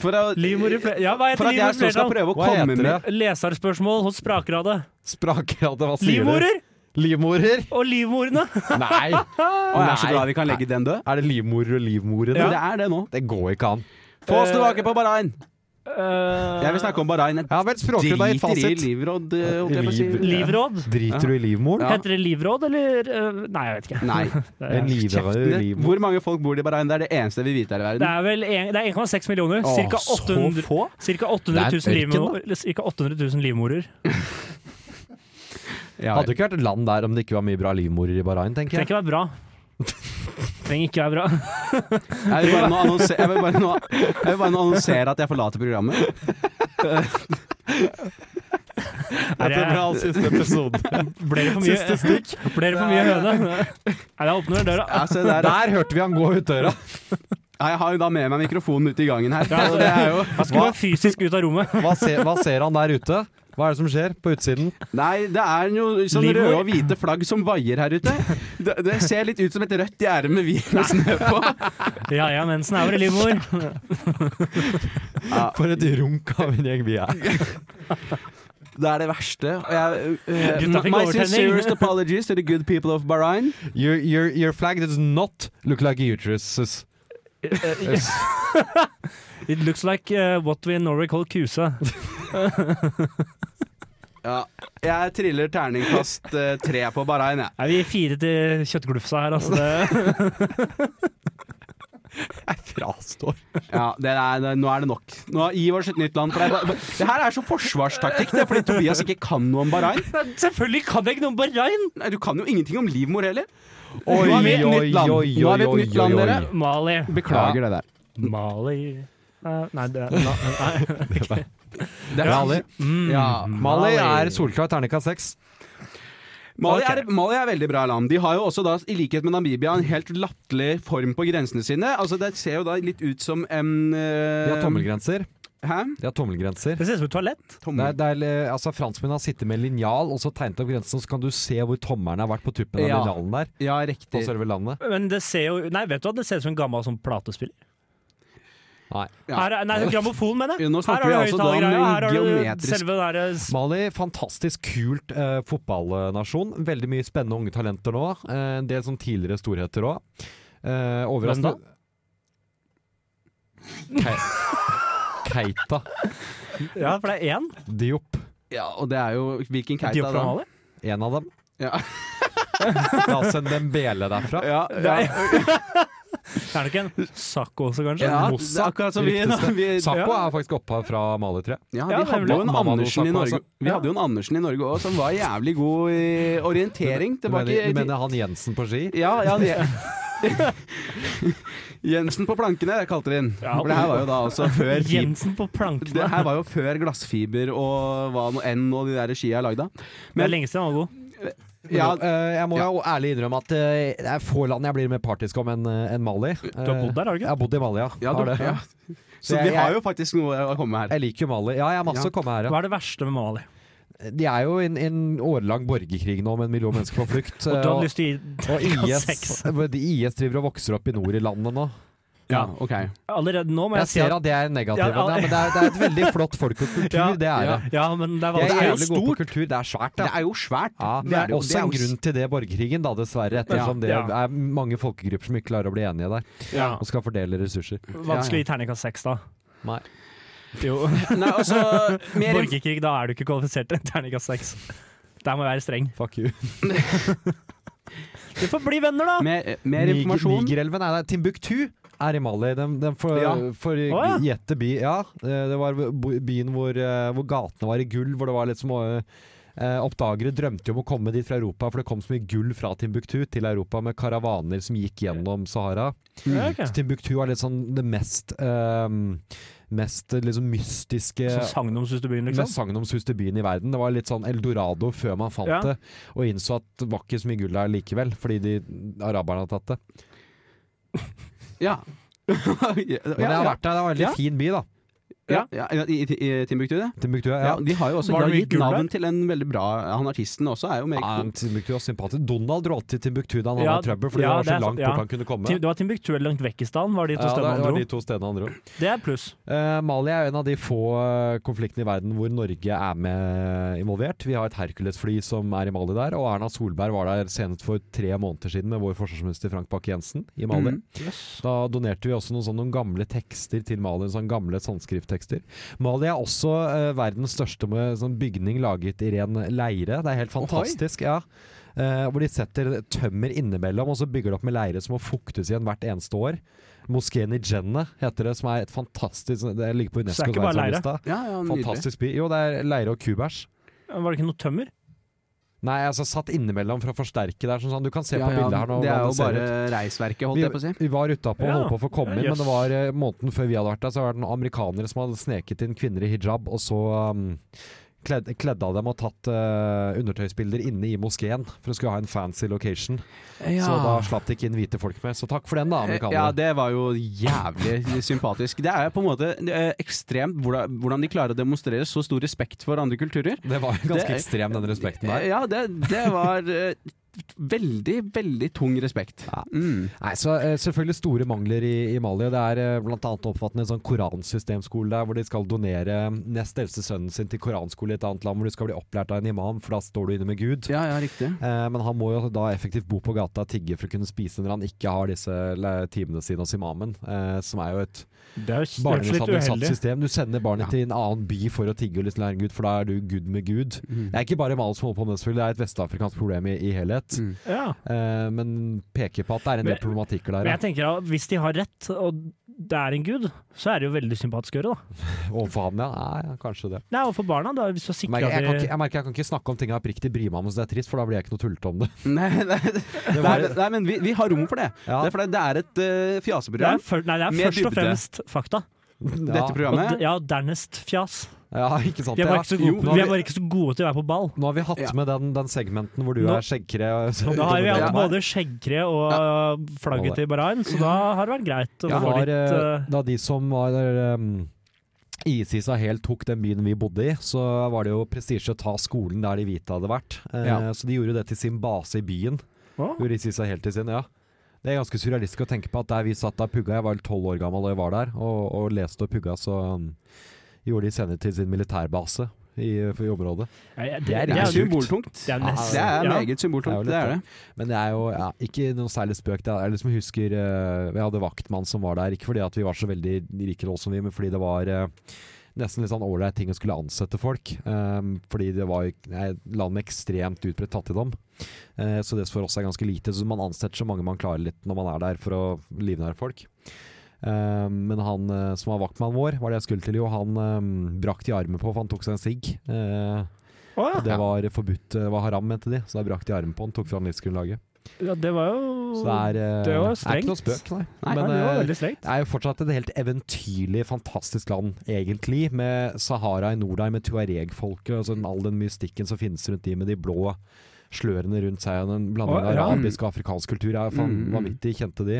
[SPEAKER 5] for, å,
[SPEAKER 7] Livmor i flertall. Ja, hva
[SPEAKER 5] for
[SPEAKER 7] heter livmor
[SPEAKER 5] at jeg
[SPEAKER 7] i
[SPEAKER 5] så skal
[SPEAKER 7] flertall?
[SPEAKER 5] prøve å
[SPEAKER 6] Hva
[SPEAKER 5] komme
[SPEAKER 6] heter det?
[SPEAKER 5] med
[SPEAKER 7] Leserspørsmål hos Språkradet.
[SPEAKER 6] Sprakradet, hva sier du?
[SPEAKER 7] Livmorer
[SPEAKER 6] Livmorer?
[SPEAKER 7] og livmorene.
[SPEAKER 6] Nei!
[SPEAKER 5] Å, Jeg er så
[SPEAKER 6] Nei.
[SPEAKER 5] glad vi kan legge den død.
[SPEAKER 6] Er det livmorer og livmorene?
[SPEAKER 5] Det er det nå.
[SPEAKER 6] Det går ikke an.
[SPEAKER 5] Få oss tilbake på Bahrain! Jeg
[SPEAKER 7] Jeg
[SPEAKER 5] vil snakke om Bahrain. Jeg
[SPEAKER 6] Ja vel, språkrådet har gitt
[SPEAKER 5] driter i Eh,
[SPEAKER 6] fasit.
[SPEAKER 5] livråd, holdt jeg på å si.
[SPEAKER 6] Liv-
[SPEAKER 7] Eh, Livråd?
[SPEAKER 6] Driter du i livmoren?
[SPEAKER 5] Ja.
[SPEAKER 7] Heter det livråd, eller øh, Nei, jeg vet ikke.
[SPEAKER 5] Nei.
[SPEAKER 7] Det
[SPEAKER 6] En
[SPEAKER 7] er,
[SPEAKER 6] livere
[SPEAKER 5] Det,
[SPEAKER 6] livmor.
[SPEAKER 5] hvor mange folk bor i Bahrain? Det er det eneste vi vet her i
[SPEAKER 7] det
[SPEAKER 5] verden.
[SPEAKER 7] er vel en- det er 1,6 millioner.
[SPEAKER 6] Åh,
[SPEAKER 7] Cirka
[SPEAKER 6] så
[SPEAKER 7] 800,
[SPEAKER 6] få?
[SPEAKER 7] cirka 800
[SPEAKER 6] Det er
[SPEAKER 7] 000
[SPEAKER 6] en ørken, da.
[SPEAKER 7] livmor- eller cirka 800 000 livmorer.
[SPEAKER 5] Ja,
[SPEAKER 6] Hadde ikke vært et land der om det ikke var mye bra livmorer i Bahrain, tenker
[SPEAKER 7] Trenger
[SPEAKER 6] jeg.
[SPEAKER 7] ikke være bra. Trenger ikke være bra.
[SPEAKER 5] Jeg vil bare nå annonsere, jeg vil bare nå, jeg vil bare nå annonsere at jeg forlater programmet.
[SPEAKER 7] Er
[SPEAKER 10] Dette ble
[SPEAKER 7] jeg,
[SPEAKER 10] all siste episode.
[SPEAKER 7] ble det for
[SPEAKER 10] Siste
[SPEAKER 7] mye,
[SPEAKER 10] stikk.
[SPEAKER 7] ble det for mye høne? Nei, jeg åpner døra.
[SPEAKER 5] Ja, se der, da.
[SPEAKER 6] Der hørte vi han gå ut døra!
[SPEAKER 5] Ja, jeg har jo da med meg mikrofonen ut i gangen her.
[SPEAKER 7] Ja,
[SPEAKER 5] Så det er jo
[SPEAKER 7] Han skulle bare fysisk ut av rommet.
[SPEAKER 6] Hva ser, hva ser han der ute? Hva er det som skjer på utsiden?
[SPEAKER 5] Nei, det er jo sånn
[SPEAKER 7] Livmor.
[SPEAKER 5] røde og hvite flagg som vaier her ute. Det, det ser litt ut som et rødt gjerde med hvit og snø på.
[SPEAKER 7] Ja ja, mensen er vår livmor.
[SPEAKER 6] For et runk av en gjeng vi er.
[SPEAKER 5] Det er det verste. Og jeg, eh,
[SPEAKER 7] Gutta fikk
[SPEAKER 5] my
[SPEAKER 7] overtenning.
[SPEAKER 5] sincerest apologies to the good people of Bahrain.
[SPEAKER 6] Your, your, your flag does not look like a uterus. Yes.
[SPEAKER 7] It looks like eh, what we in Norway call kuse.
[SPEAKER 5] Ja, jeg triller terningkast eh, tre på Bahrain, jeg.
[SPEAKER 7] Nei, vi gir fire til kjøttglufsa her, altså. Det,
[SPEAKER 6] Frastår.
[SPEAKER 5] Ja, det er, det, nå er det nok. Nå Gi oss et nytt land. For det, er ba- det her er så forsvarstaktikk, det er fordi Tobias ikke kan noe om Bahrain.
[SPEAKER 7] selvfølgelig kan jeg ikke noe om Bahrain!
[SPEAKER 5] Nei, Du kan jo ingenting om livmor heller.
[SPEAKER 6] Oi,
[SPEAKER 5] Nå har vi et nytt land.
[SPEAKER 6] oi,
[SPEAKER 5] Nå har vi et
[SPEAKER 6] oi,
[SPEAKER 5] nytt
[SPEAKER 6] oi,
[SPEAKER 5] land,
[SPEAKER 6] oi.
[SPEAKER 5] dere.
[SPEAKER 7] Mali.
[SPEAKER 5] Beklager det der.
[SPEAKER 7] Mali Eh, Nei, det na, nei. Mm.
[SPEAKER 5] Det er-
[SPEAKER 6] Mali.
[SPEAKER 5] Ja.
[SPEAKER 6] Mali er solklar terningkast seks.
[SPEAKER 5] Mali,
[SPEAKER 7] Ok.
[SPEAKER 5] er, Mali er veldig bra land. De har jo også, da, i likhet med Namibia, en helt latterlig form på grensene sine. Altså, Det ser jo da litt ut som en
[SPEAKER 6] De har
[SPEAKER 5] uh,
[SPEAKER 6] tommelgrenser.
[SPEAKER 5] Hæ?
[SPEAKER 6] De har tommelgrenser.
[SPEAKER 7] Det ser ut som et toalett.
[SPEAKER 6] Det
[SPEAKER 5] Tommel.
[SPEAKER 6] er, det er, eh, altså Franskmenn har sittet med linjal og så tegnet opp grensen, så kan du se hvor tommelen har vært på tuppen av
[SPEAKER 5] Ja.
[SPEAKER 6] linjalen der.
[SPEAKER 5] Ja,
[SPEAKER 6] På
[SPEAKER 5] riktig.
[SPEAKER 6] selve landet.
[SPEAKER 7] Men det ser jo Nei, vet du hva? Det ser ut som en gammel sånn platespiller.
[SPEAKER 6] Nei.
[SPEAKER 5] Ja.
[SPEAKER 7] Her er, nei, grammofon, mener jeg.
[SPEAKER 5] Jo, nå
[SPEAKER 7] Her har
[SPEAKER 5] snakker
[SPEAKER 7] du
[SPEAKER 5] vi altså da om
[SPEAKER 7] høyttalergreia,
[SPEAKER 5] en
[SPEAKER 7] her har du
[SPEAKER 5] geometrisk-
[SPEAKER 7] selve eh, den derre s-
[SPEAKER 6] Mali, fantastisk kult eh, fotballnasjon. Veldig mye spennende unge talenter nå. Eh, en del sånn tidligere storheter òg. Eh, overraskende Ke- Keita
[SPEAKER 7] Ja, for det er én.
[SPEAKER 6] Diop.
[SPEAKER 5] Ja, og det er jo Hvilken
[SPEAKER 7] De
[SPEAKER 5] keita
[SPEAKER 7] er
[SPEAKER 5] da?
[SPEAKER 7] fra Mali.
[SPEAKER 6] En av dem.
[SPEAKER 5] Ja.
[SPEAKER 6] La oss sende en bele derfra.
[SPEAKER 5] Ja, ja,
[SPEAKER 7] Nei. Er det ikke en Sakko også, kanskje?
[SPEAKER 5] ja, det er
[SPEAKER 6] Moussa,
[SPEAKER 5] akkurat som vi,
[SPEAKER 6] riktigste.
[SPEAKER 5] vi,
[SPEAKER 6] Sakko er faktisk opphav fra Mali, tror jeg.
[SPEAKER 5] ja, vi
[SPEAKER 7] Ja,
[SPEAKER 5] hadde
[SPEAKER 7] nemlig.
[SPEAKER 5] jo en
[SPEAKER 6] Mamma
[SPEAKER 5] Andersen i
[SPEAKER 6] Moussa,
[SPEAKER 5] Norge
[SPEAKER 6] altså.
[SPEAKER 5] Vi hadde jo en Andersen i Norge òg, som var jævlig god i orientering
[SPEAKER 6] Du
[SPEAKER 5] tilbake
[SPEAKER 6] mener,
[SPEAKER 5] i
[SPEAKER 6] du mener han Jensen på ski?
[SPEAKER 5] Ja, ja det. Jensen på plankene, kalte vi den.
[SPEAKER 7] Ja.
[SPEAKER 5] For det her var jo da altså før fib-
[SPEAKER 7] Jensen på plankene.
[SPEAKER 5] Det her var jo før glassfiber og hva nå enn og de der skia er lagd av.
[SPEAKER 7] Det er lenge siden han var god.
[SPEAKER 5] Ja,
[SPEAKER 6] Men, eh, jeg må jo ærlig innrømme at eh, det er få land jeg blir mer partisk om enn eh, enn Mali.
[SPEAKER 7] Du har bodd der, har du
[SPEAKER 6] Jeg
[SPEAKER 7] ikke?
[SPEAKER 6] har bodd i Mali, ja.
[SPEAKER 5] Eh, ja,
[SPEAKER 6] Har
[SPEAKER 5] du,
[SPEAKER 6] det.
[SPEAKER 5] ja. Så
[SPEAKER 6] Det
[SPEAKER 5] vi
[SPEAKER 6] er-
[SPEAKER 5] har jo faktisk noe å komme med her.
[SPEAKER 6] Jeg liker jo Mali. Ja, jeg har masse
[SPEAKER 5] Ja.
[SPEAKER 6] å komme her, ja.
[SPEAKER 7] Hva er det verste med Mali?
[SPEAKER 6] De er jo i en, en årelang borgerkrig nå med en million mennesker på flukt.
[SPEAKER 7] Og du
[SPEAKER 6] eh,
[SPEAKER 7] hadde lyst til å
[SPEAKER 6] og
[SPEAKER 7] gi
[SPEAKER 6] IS,
[SPEAKER 7] seks.
[SPEAKER 6] de IS driver og vokser opp i nord i landet nå.
[SPEAKER 5] Ja, ok.
[SPEAKER 7] Allerede nå må
[SPEAKER 6] Jeg
[SPEAKER 7] jeg si
[SPEAKER 6] ser
[SPEAKER 7] at
[SPEAKER 6] at det er negativt,
[SPEAKER 7] Ja, ja.
[SPEAKER 6] men det er, det er et veldig flott folk og kultur.
[SPEAKER 7] Ja,
[SPEAKER 6] Det er det.
[SPEAKER 7] Ja, men det er
[SPEAKER 6] De er
[SPEAKER 7] vanskelig.
[SPEAKER 6] jævlig gode på kultur. Det er svært,
[SPEAKER 5] Det
[SPEAKER 6] ja.
[SPEAKER 5] er jo svært.
[SPEAKER 6] ja
[SPEAKER 5] Det
[SPEAKER 6] det er
[SPEAKER 5] er jo- det
[SPEAKER 6] også
[SPEAKER 5] er
[SPEAKER 6] en
[SPEAKER 5] jo-
[SPEAKER 6] grunn til det borgerkrigen, da, dessverre. Ettersom det
[SPEAKER 7] Ja.
[SPEAKER 6] er mange folkegrupper som ikke klarer å bli enige der,
[SPEAKER 7] Ja.
[SPEAKER 6] og skal fordele ressurser.
[SPEAKER 7] Vanskelig å gi terningkast seks, da.
[SPEAKER 6] Nei.
[SPEAKER 7] Jo.
[SPEAKER 5] Nei, altså, mer inf-
[SPEAKER 7] Borgerkrig, da er du ikke kvalifisert til terningkast seks. Der må jeg være streng.
[SPEAKER 6] Fuck you.
[SPEAKER 7] Du får bli venner, da!
[SPEAKER 5] mer, mer
[SPEAKER 6] Nig-
[SPEAKER 5] informasjon.
[SPEAKER 6] Nigerelven Nei, nei, Timbuktu er i Mali. Den, den for,
[SPEAKER 5] Ja.
[SPEAKER 6] for
[SPEAKER 7] ja.
[SPEAKER 6] gjette by. Ja, eh, det var bo- byen hvor, eh, hvor gatene var i gull, hvor det var litt som eh, eh, Oppdagere drømte jo om å komme dit fra Europa, for det kom så mye gull fra Timbuktu til Europa med karavaner som gikk gjennom Sahara.
[SPEAKER 7] Ja, ok.
[SPEAKER 6] Så Timbuktu er litt sånn det mest eh, Mest eh, liksom mystiske
[SPEAKER 7] Sånn sagnomsuste byen,
[SPEAKER 6] liksom?
[SPEAKER 7] liksom.
[SPEAKER 6] mest sagnomsuste byen i verden. Det var litt sånn eldorado før man fant
[SPEAKER 7] Ja.
[SPEAKER 6] det, og innså at det var ikke så mye gull der likevel, fordi de araberne har tatt det.
[SPEAKER 5] Ja. ja,
[SPEAKER 6] Men jeg har vært der, det var en veldig
[SPEAKER 5] Ja.
[SPEAKER 6] fin by, da.
[SPEAKER 5] ja, ja, i, i, i Timbuktu, det.
[SPEAKER 6] Timbuktu, ja.
[SPEAKER 5] Ja, de har jo også
[SPEAKER 7] Var det
[SPEAKER 5] de har
[SPEAKER 7] mye
[SPEAKER 5] gitt
[SPEAKER 7] gull
[SPEAKER 5] navn til en veldig bra Han artisten også er jo meget
[SPEAKER 6] Ja,
[SPEAKER 5] god.
[SPEAKER 6] Timbuktu var sympatisk. Donald dro alltid til Timbuktu da han
[SPEAKER 7] Ja,
[SPEAKER 6] hadde trøbbel, fordi
[SPEAKER 7] ja,
[SPEAKER 6] det var
[SPEAKER 7] det
[SPEAKER 6] så
[SPEAKER 7] er sant,
[SPEAKER 6] langt
[SPEAKER 7] ja.
[SPEAKER 6] bort han kunne komme.
[SPEAKER 7] Tim- Det var Timbuktu eller Langtvekkistan, var de to
[SPEAKER 6] Ja, det
[SPEAKER 7] stedene han
[SPEAKER 6] var
[SPEAKER 7] dro.
[SPEAKER 6] de to stedene han dro.
[SPEAKER 7] Det er pluss.
[SPEAKER 6] Eh, Mali er jo en av de få eh, konfliktene i verden hvor Norge er med involvert. Vi har et Hercules-fly som er i Mali der, og Erna Solberg var der senest for tre måneder siden med vår forsvarsminister Frank Bakke-Jensen i Mali.
[SPEAKER 5] Mhm.
[SPEAKER 6] Da donerte vi også noen, sånne, noen gamle tekster til Mali, sånne gamle sandskrifttekster. Mali er også eh, verdens største med, sånn bygning laget i ren leire. Det er helt fantastisk. ja. Eh, hvor de setter tømmer innimellom, og så bygger de opp med leire som må fuktes igjen hvert eneste år. Moskeen i Jenne heter det, som er et fantastisk Det ligger på
[SPEAKER 7] Så det er ikke
[SPEAKER 6] UNESCOs
[SPEAKER 7] bare
[SPEAKER 6] verdensarvliste.
[SPEAKER 5] Ja, ja, nydelig.
[SPEAKER 6] Fantastisk by. Jo, det er leire og kubæsj.
[SPEAKER 7] Var det ikke noe tømmer?
[SPEAKER 6] Nei, altså satt innimellom for å forsterke der. Sånn, sånn, du kan se på
[SPEAKER 5] Ja, ja,
[SPEAKER 6] bildet her nå.
[SPEAKER 5] det er
[SPEAKER 6] hvordan
[SPEAKER 5] jo
[SPEAKER 6] ser
[SPEAKER 5] bare
[SPEAKER 6] ut.
[SPEAKER 5] reisverket, holdt
[SPEAKER 6] Vi,
[SPEAKER 5] jeg på å si.
[SPEAKER 6] vi var utapå og
[SPEAKER 7] Ja.
[SPEAKER 6] holdt på å få komme inn,
[SPEAKER 7] Ja,
[SPEAKER 6] men det var eh, måneden før vi hadde vært der, så var det noen amerikanere som hadde sneket inn kvinner i hijab, og så um, kledd, kledd av dem og tatt eh, undertøysbilder inne i moskeen for å skulle ha en fancy location. Så da slapp de ikke inn hvite folk med. Så takk for den, da, amerikanere.
[SPEAKER 5] Eh, Ja, det var jo jævlig sympatisk. Det er på en måte eh, ekstremt hvordan hvordan de klarer å demonstrere så stor respekt for andre kulturer.
[SPEAKER 6] det var jo ganske
[SPEAKER 5] Det- eh,
[SPEAKER 6] ekstrem, den respekten der.
[SPEAKER 5] Ja, det, det var eh, veldig, veldig tung respekt.
[SPEAKER 6] Ja.
[SPEAKER 5] Mm.
[SPEAKER 6] Nei, så eh, Selvfølgelig store mangler i, i Mali. Det er eh, blant annet oppfattende en sånn koransystemskole der hvor de skal donere eh, nest eldste sønnen sin til koranskole i et annet land hvor du skal bli opplært av en imam, for da står du inne med Gud.
[SPEAKER 5] Ja, ja, riktig.
[SPEAKER 6] Eh, Men han må jo da effektivt bo på gata og tigge for å kunne spise når han ikke har disse le- timene sine hos imamen, eh, som er jo et
[SPEAKER 7] Det er jo rett og slett
[SPEAKER 6] barnemishandlingssatt
[SPEAKER 7] uheldig.
[SPEAKER 6] system. Du sender barnet
[SPEAKER 5] Ja.
[SPEAKER 6] til en annen by for å tigge og liksom lære Gud, for da er du Gud med Gud.
[SPEAKER 5] Mm.
[SPEAKER 6] Det er ikke bare Mali som holder på med det, selvfølgelig. Det er et vestafrikansk problem i, i helhet.
[SPEAKER 5] Mm.
[SPEAKER 7] Ja.
[SPEAKER 6] Eh, Men peker på at det er en del problematikker der.
[SPEAKER 7] Men
[SPEAKER 6] ja.
[SPEAKER 7] jeg tenker at hvis de har rett, og det er en gud, så er det jo veldig sympatisk å gjøre, da.
[SPEAKER 6] Overfor ham, ja. Nei, ja, kanskje det.
[SPEAKER 7] Nei, og for barna, da, hvis du har
[SPEAKER 6] Jeg merker,
[SPEAKER 7] sikra
[SPEAKER 6] jeg, kan ikke,
[SPEAKER 7] de
[SPEAKER 6] jeg merker jeg kan ikke snakke om ting jeg oppriktig bryr meg om, så det er trist, for da blir jeg ikke noe tullete om det.
[SPEAKER 5] Nei, nei,
[SPEAKER 6] Det
[SPEAKER 5] nei,
[SPEAKER 6] var-
[SPEAKER 5] men- nei, men vi, vi har rom for det.
[SPEAKER 6] Ja.
[SPEAKER 5] Det er fordi det er et eh,
[SPEAKER 7] det er,
[SPEAKER 5] fjaseprogram,
[SPEAKER 7] før- nei, det er
[SPEAKER 5] Med
[SPEAKER 7] først og
[SPEAKER 5] dybde.
[SPEAKER 7] fremst fakta.
[SPEAKER 5] dette
[SPEAKER 6] ja,
[SPEAKER 7] Og,
[SPEAKER 5] programmet.
[SPEAKER 7] d- ja, dernest fjas.
[SPEAKER 6] ja, ikke sant.
[SPEAKER 7] Vi er bare
[SPEAKER 6] ja.
[SPEAKER 7] ikke så
[SPEAKER 6] Jo, nå
[SPEAKER 7] gode, på-
[SPEAKER 6] har
[SPEAKER 7] vi er bare ikke så gode til å være på ball.
[SPEAKER 6] Nå har vi hatt
[SPEAKER 5] Ja.
[SPEAKER 6] med den, den segmenten hvor du
[SPEAKER 7] Nå-
[SPEAKER 6] er skjeggkre. eh, som
[SPEAKER 7] Da har vi
[SPEAKER 6] dominerer
[SPEAKER 7] hatt
[SPEAKER 6] meg.
[SPEAKER 7] både skjeggkre og øh, flagget til Bahrain, så da har det vært greit å
[SPEAKER 6] Det
[SPEAKER 7] få
[SPEAKER 6] var,
[SPEAKER 7] litt
[SPEAKER 6] eh,
[SPEAKER 7] øh,
[SPEAKER 6] Da de som var um, ISIS og helt tok den byen vi bodde i, så var det jo prestisje å ta skolen der de hvite hadde vært. Eh,
[SPEAKER 5] Ja.
[SPEAKER 6] Så de gjorde det til sin base i byen.
[SPEAKER 7] Å?
[SPEAKER 6] Gjorde ISIS og helt til sin, ja. Det er ganske surrealistisk å tenke på at der vi satt da pugga, jeg var tolv år gammel da jeg var der, og, og leste og pugga, så um, gjorde de senere til sin militærbase i, i området.
[SPEAKER 7] nei, det,
[SPEAKER 6] er
[SPEAKER 5] Det
[SPEAKER 6] sjukt.
[SPEAKER 5] er
[SPEAKER 6] Ah,
[SPEAKER 5] symboltungt.
[SPEAKER 7] Det er nesten-
[SPEAKER 5] Det er
[SPEAKER 7] ja.
[SPEAKER 5] meget symboltungt.
[SPEAKER 6] Det
[SPEAKER 5] Det
[SPEAKER 6] er jo
[SPEAKER 5] er det.
[SPEAKER 6] litt- Men det er jo ja, ikke noen særlig spøk. Det er, jeg liksom husker eh, Jeg hadde vaktmann som var der, ikke fordi at vi var så veldig rike nå som vi, men fordi det var eh, nesten litt sånn ålreit ting å skulle ansette folk. eh, fordi det var jo ikke- nei, et land med ekstremt utbredt fattigdom. Eh, så det for oss er ganske lite. Så man ansetter så mange man klarer litt når man er der for å livnære folk. Eh, men han eh, som var vaktmannen vår, var det jeg skulle til jo, han eh, brakk de armen på, for han tok seg en sigg. Eh,
[SPEAKER 7] Å
[SPEAKER 6] og det var forbudt, det var haram, mente de. Så da brakk de armen på han, tok fra han livsgrunnlaget.
[SPEAKER 7] ja. ja, det var
[SPEAKER 6] Så
[SPEAKER 7] jo
[SPEAKER 6] det er, eh,
[SPEAKER 7] Det var
[SPEAKER 6] er ikke noe
[SPEAKER 7] strengt.
[SPEAKER 6] spøk, nei.
[SPEAKER 7] Nei,
[SPEAKER 6] Men
[SPEAKER 7] det var
[SPEAKER 6] eh,
[SPEAKER 7] veldig strengt.
[SPEAKER 6] det er jo fortsatt et helt eventyrlig, fantastisk land, egentlig. Med Sahara i nord der, med tuareg-folket og sånn, all den mystikken som finnes rundt de med de blå slørene rundt seg. og Den blandingen
[SPEAKER 7] Å,
[SPEAKER 6] av
[SPEAKER 7] ja.
[SPEAKER 6] arabisk og afrikansk kultur er faen
[SPEAKER 5] Mm, mm.
[SPEAKER 6] vanvittig, kjente de.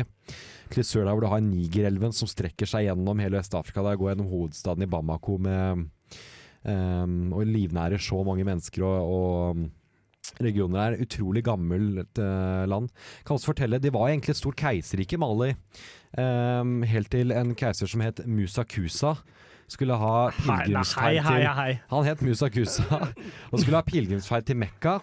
[SPEAKER 6] Til sør der hvor du har Nigerelven som strekker seg gjennom hele Øst-Afrika. Der går gjennom hovedstaden i Bamako med ehm, Og livnærer så mange mennesker og, og um, regioner her. Utrolig gammelt eh, land. Kan også fortelle, De var egentlig et stort keiserrike, Mali. ehm, helt til en keiser som het Musa Kusa skulle ha
[SPEAKER 7] Hei, nei, hei,
[SPEAKER 6] pilegrimsferd
[SPEAKER 7] hei,
[SPEAKER 6] til
[SPEAKER 7] hei.
[SPEAKER 6] han het Musa Kusa og skulle ha pilegrimsferd til Mekka.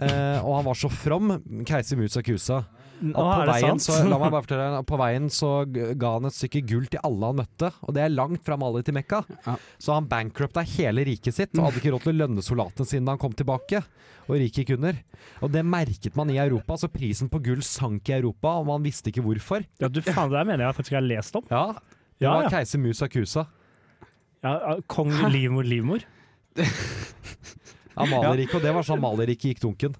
[SPEAKER 6] Eh, og han var så from, keiser Musa Kusa. At
[SPEAKER 7] Nå
[SPEAKER 6] på,
[SPEAKER 7] er det
[SPEAKER 6] veien,
[SPEAKER 7] sant.
[SPEAKER 6] så, la meg bare fortelle, deg, at på veien så g- ga han et stykke gull til alle han møtte, og det er langt fra Mali til Mekka.
[SPEAKER 5] Ja.
[SPEAKER 6] Så han bankrupta hele riket sitt og hadde ikke råd til å lønne soldatene sine da han kom tilbake. Og riket gikk under. Og det merket man i Europa, så prisen på gull sank i Europa, og man visste ikke hvorfor.
[SPEAKER 7] Ja, du faen, det der mener jeg faktisk jeg har lest om.
[SPEAKER 6] Ja, det
[SPEAKER 7] Ja,
[SPEAKER 6] var
[SPEAKER 7] ja.
[SPEAKER 6] keiser Musa Kusa.
[SPEAKER 7] Ja, ja, Kong livmor livmor.
[SPEAKER 6] Ja, Maleriket, og det var sånn Maleriket gikk dunken.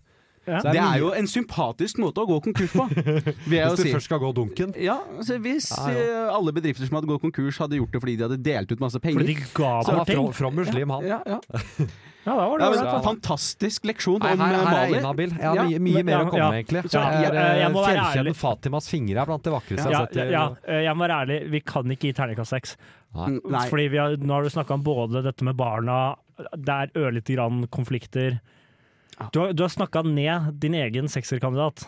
[SPEAKER 7] Ja.
[SPEAKER 5] Det er jo en sympatisk måte å gå konkurs på, vil jeg jo
[SPEAKER 6] Hvis du
[SPEAKER 5] si.
[SPEAKER 6] først skal gå dunken.
[SPEAKER 5] Ja, altså hvis
[SPEAKER 6] Ja, ja.
[SPEAKER 5] eh, alle bedrifter som hadde gått konkurs, hadde gjort det fordi de hadde delt ut masse penger.
[SPEAKER 7] Fordi de ga
[SPEAKER 6] Han
[SPEAKER 7] bort
[SPEAKER 6] var
[SPEAKER 7] ting.
[SPEAKER 6] fra, fra muslim, han.
[SPEAKER 5] Ja, ja.
[SPEAKER 7] Ja, da var
[SPEAKER 5] Ja,
[SPEAKER 7] det
[SPEAKER 5] men,
[SPEAKER 7] ålreit. da.
[SPEAKER 5] fantastisk leksjon
[SPEAKER 6] Nei,
[SPEAKER 5] om
[SPEAKER 6] her,
[SPEAKER 5] eh,
[SPEAKER 6] her er jeg
[SPEAKER 5] Mali.
[SPEAKER 6] inhabil. Jeg har
[SPEAKER 5] Ja,
[SPEAKER 6] mye, mye
[SPEAKER 7] men-
[SPEAKER 6] mer
[SPEAKER 7] ja,
[SPEAKER 6] å komme med, egentlig.
[SPEAKER 7] ja,
[SPEAKER 6] Jeg er,
[SPEAKER 7] jeg- jeg må være
[SPEAKER 6] eh, fjellkjeden
[SPEAKER 7] ærlig.
[SPEAKER 6] Fatimas fingre er blant det vakreste jeg
[SPEAKER 7] Ja,
[SPEAKER 6] har sett.
[SPEAKER 7] ja,
[SPEAKER 6] i-
[SPEAKER 7] ja, eh, jeg må være ærlig, vi kan ikke gi terningkast seks.
[SPEAKER 6] Nei.
[SPEAKER 5] Mm, Nei.
[SPEAKER 7] Fordi vi har, nå har du snakka om både dette med barna, det er ørlite grann konflikter. Du har, du har snakka ned din egen sekserkandidat.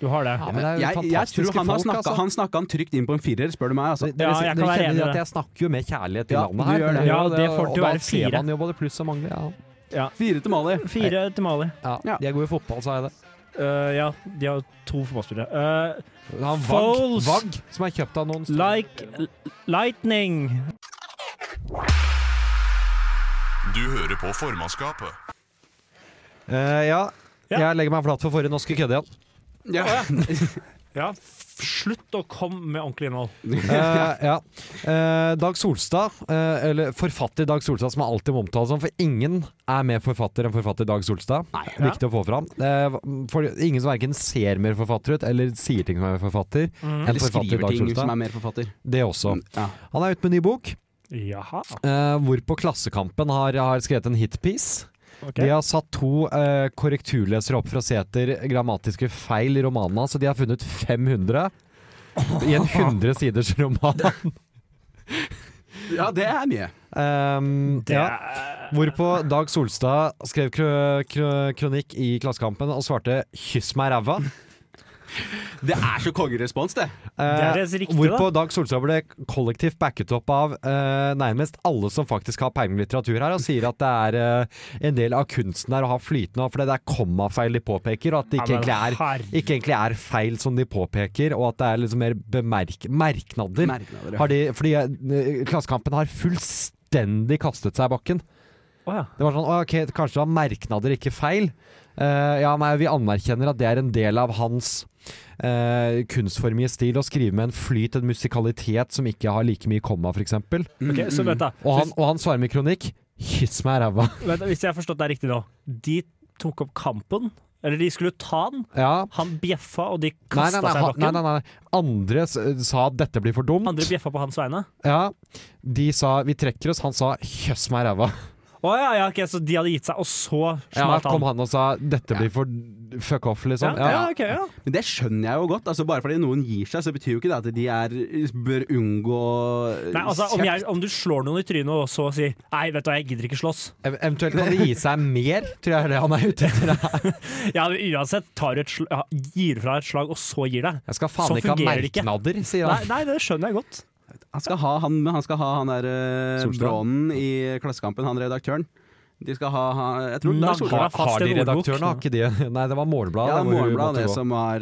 [SPEAKER 7] Du har det.
[SPEAKER 6] Ja, men det er jo
[SPEAKER 5] Jeg, jeg
[SPEAKER 6] fantastiske
[SPEAKER 5] tror han har
[SPEAKER 6] folk,
[SPEAKER 5] snakka
[SPEAKER 6] altså.
[SPEAKER 5] han, snakka han trygt inn på en firer, spør du meg. Altså.
[SPEAKER 6] Det- dere-
[SPEAKER 7] Ja, jeg
[SPEAKER 6] dere
[SPEAKER 7] kan være
[SPEAKER 6] kjenner
[SPEAKER 7] enig i
[SPEAKER 6] at
[SPEAKER 7] det.
[SPEAKER 6] Jeg snakker jo med kjærlighet til
[SPEAKER 5] Ja,
[SPEAKER 6] landet
[SPEAKER 5] du
[SPEAKER 6] her.
[SPEAKER 5] gjør det.
[SPEAKER 7] Ja,
[SPEAKER 6] og
[SPEAKER 7] det får til å
[SPEAKER 6] og da
[SPEAKER 7] være
[SPEAKER 6] ser
[SPEAKER 7] fire.
[SPEAKER 6] man jo både pluss og mangler. Ja.
[SPEAKER 5] Fire til Mali.
[SPEAKER 7] Fire til Mali.
[SPEAKER 6] Ja,
[SPEAKER 5] Ja.
[SPEAKER 6] De er gode i fotball, sa jeg det.
[SPEAKER 7] Eh, ja, de har to fotballspillere. Eh,
[SPEAKER 6] Han Vagg,
[SPEAKER 7] Foles.
[SPEAKER 6] Vagg, som er kjøpt av noen
[SPEAKER 7] like Lightning!
[SPEAKER 1] Du hører på formannskapet.
[SPEAKER 6] Eh, ja.
[SPEAKER 7] Ja.
[SPEAKER 6] Jeg legger meg flat for forrige norske kødde igjen.
[SPEAKER 5] Ja.
[SPEAKER 7] Ja, f- slutt å komme med ordentlig innhold.
[SPEAKER 6] Eh, ja. Eh, Dag Solstad, eh, eller forfatter Dag Solstad, som er alltid omtalt som, for ingen er mer forfatter enn forfatter Dag Solstad.
[SPEAKER 7] Ja.
[SPEAKER 6] Viktig å få fram. Eh, for ingen som verken ser mer forfatter ut, eller sier ting som er forfatter, enn
[SPEAKER 7] Mhm.
[SPEAKER 5] Eller
[SPEAKER 6] forfatter
[SPEAKER 5] skriver
[SPEAKER 6] Dag
[SPEAKER 5] ting som Mm.
[SPEAKER 6] Solstad.
[SPEAKER 5] er mer forfatter.
[SPEAKER 6] Det også.
[SPEAKER 5] Ja.
[SPEAKER 6] Han er ute med en ny bok.
[SPEAKER 7] Jaha.
[SPEAKER 6] eh, hvorpå Klassekampen har, har skrevet en hitpiece.
[SPEAKER 7] ok.
[SPEAKER 6] De har satt to eh, korrekturlesere opp fra Sæter grammatiske feil i romanen hans, og de har funnet 500 i en 100 siders roman.
[SPEAKER 5] Ja, det er mye.
[SPEAKER 6] Um,
[SPEAKER 7] Det
[SPEAKER 6] ja.
[SPEAKER 7] er-
[SPEAKER 6] Hvorpå Dag Solstad skrev kro kro kronikk i Klassekampen og svarte 'kyss meg ræva'.
[SPEAKER 5] Det er så kongerespons, det.
[SPEAKER 7] er
[SPEAKER 6] Eh,
[SPEAKER 7] deres riktige,
[SPEAKER 6] hvorpå Dag Solstad ble kollektivt backet opp av eh, nærmest alle som faktisk har peiling på litteratur her, og sier at det er eh, en del av kunsten her å ha flytende, og fordi det er kommafeil de påpeker, og at det
[SPEAKER 7] Ja,
[SPEAKER 6] ikke,
[SPEAKER 7] men
[SPEAKER 6] egentlig,
[SPEAKER 7] herre-
[SPEAKER 6] er, ikke egentlig er feil som de påpeker, og at det er liksom mer bemerk merknader.
[SPEAKER 5] Merknader, ja.
[SPEAKER 6] Har de, fordi eh, Klassekampen har fullstendig kastet seg i bakken.
[SPEAKER 7] Å ja.
[SPEAKER 6] Det var sånn, «Å, ok, Kanskje det var merknader, ikke feil. Eh, ja, nei, Vi anerkjenner at det er en del av hans eh, kunstformige stil å skrive med en flyt, en musikalitet, som ikke har like mye komma, f.eks. Og,
[SPEAKER 7] Ok, så vent, da.
[SPEAKER 6] han- Mm, og han svarer med kronikk 'kyss meg i ræva'.
[SPEAKER 7] Hvis, vent, da, hvis jeg har forstått det riktig nå. De tok opp kampen. Eller de skulle ta han.
[SPEAKER 6] Ja.
[SPEAKER 7] Han bjeffa, og de
[SPEAKER 6] Nei
[SPEAKER 7] kasta
[SPEAKER 6] nei nei,
[SPEAKER 7] seg i
[SPEAKER 6] han- nei,
[SPEAKER 7] bakken.
[SPEAKER 6] nei, nei. Andre s sa at dette blir for dumt.
[SPEAKER 7] Andre bjeffa på hans vegne.
[SPEAKER 6] Ja. De sa 'vi trekker oss', han sa 'kjøss meg i ræva'.
[SPEAKER 7] Å ja, ja, ok, så de hadde gitt seg, og så
[SPEAKER 6] Ja,
[SPEAKER 7] smalt
[SPEAKER 6] kom
[SPEAKER 7] han.
[SPEAKER 6] han og sa 'dette blir for fuck off', liksom.
[SPEAKER 7] ja, ja,
[SPEAKER 6] Ja.
[SPEAKER 7] ok, ja.
[SPEAKER 5] Men det skjønner jeg jo godt. Altså, bare fordi noen gir seg, så betyr jo ikke det at de er, bør unngå
[SPEAKER 7] Nei, altså, om, jeg, om du slår noen i trynet og så sier 'nei, vet du hva, jeg gidder ikke slåss',
[SPEAKER 6] Ev eventuelt kan de gi seg mer, tror jeg er det han er ute etter.
[SPEAKER 7] Ja, men uansett tar du et sl ja, gir fra et slag, og så gir deg.
[SPEAKER 6] Jeg skal
[SPEAKER 7] Sånn
[SPEAKER 6] faen ikke ha
[SPEAKER 7] fungerer det ikke.
[SPEAKER 6] merknader, sier
[SPEAKER 7] Nei,
[SPEAKER 6] han.
[SPEAKER 7] nei, det skjønner jeg godt.
[SPEAKER 5] Han skal ha han, han, skal ha han der eh,
[SPEAKER 6] Solstad?
[SPEAKER 5] Brånen i Klassekampen, han redaktøren. De skal ha, ha jeg tror Dag
[SPEAKER 7] Nagla
[SPEAKER 5] Solstad-
[SPEAKER 7] fast
[SPEAKER 6] Har de
[SPEAKER 7] en ordbok.
[SPEAKER 6] redaktøren, har ikke de? Nei, det var Morgenbladet.
[SPEAKER 5] Ja,
[SPEAKER 6] det hvor hun
[SPEAKER 5] Morgenbladet,
[SPEAKER 6] måtte
[SPEAKER 5] det
[SPEAKER 6] gå.
[SPEAKER 5] som var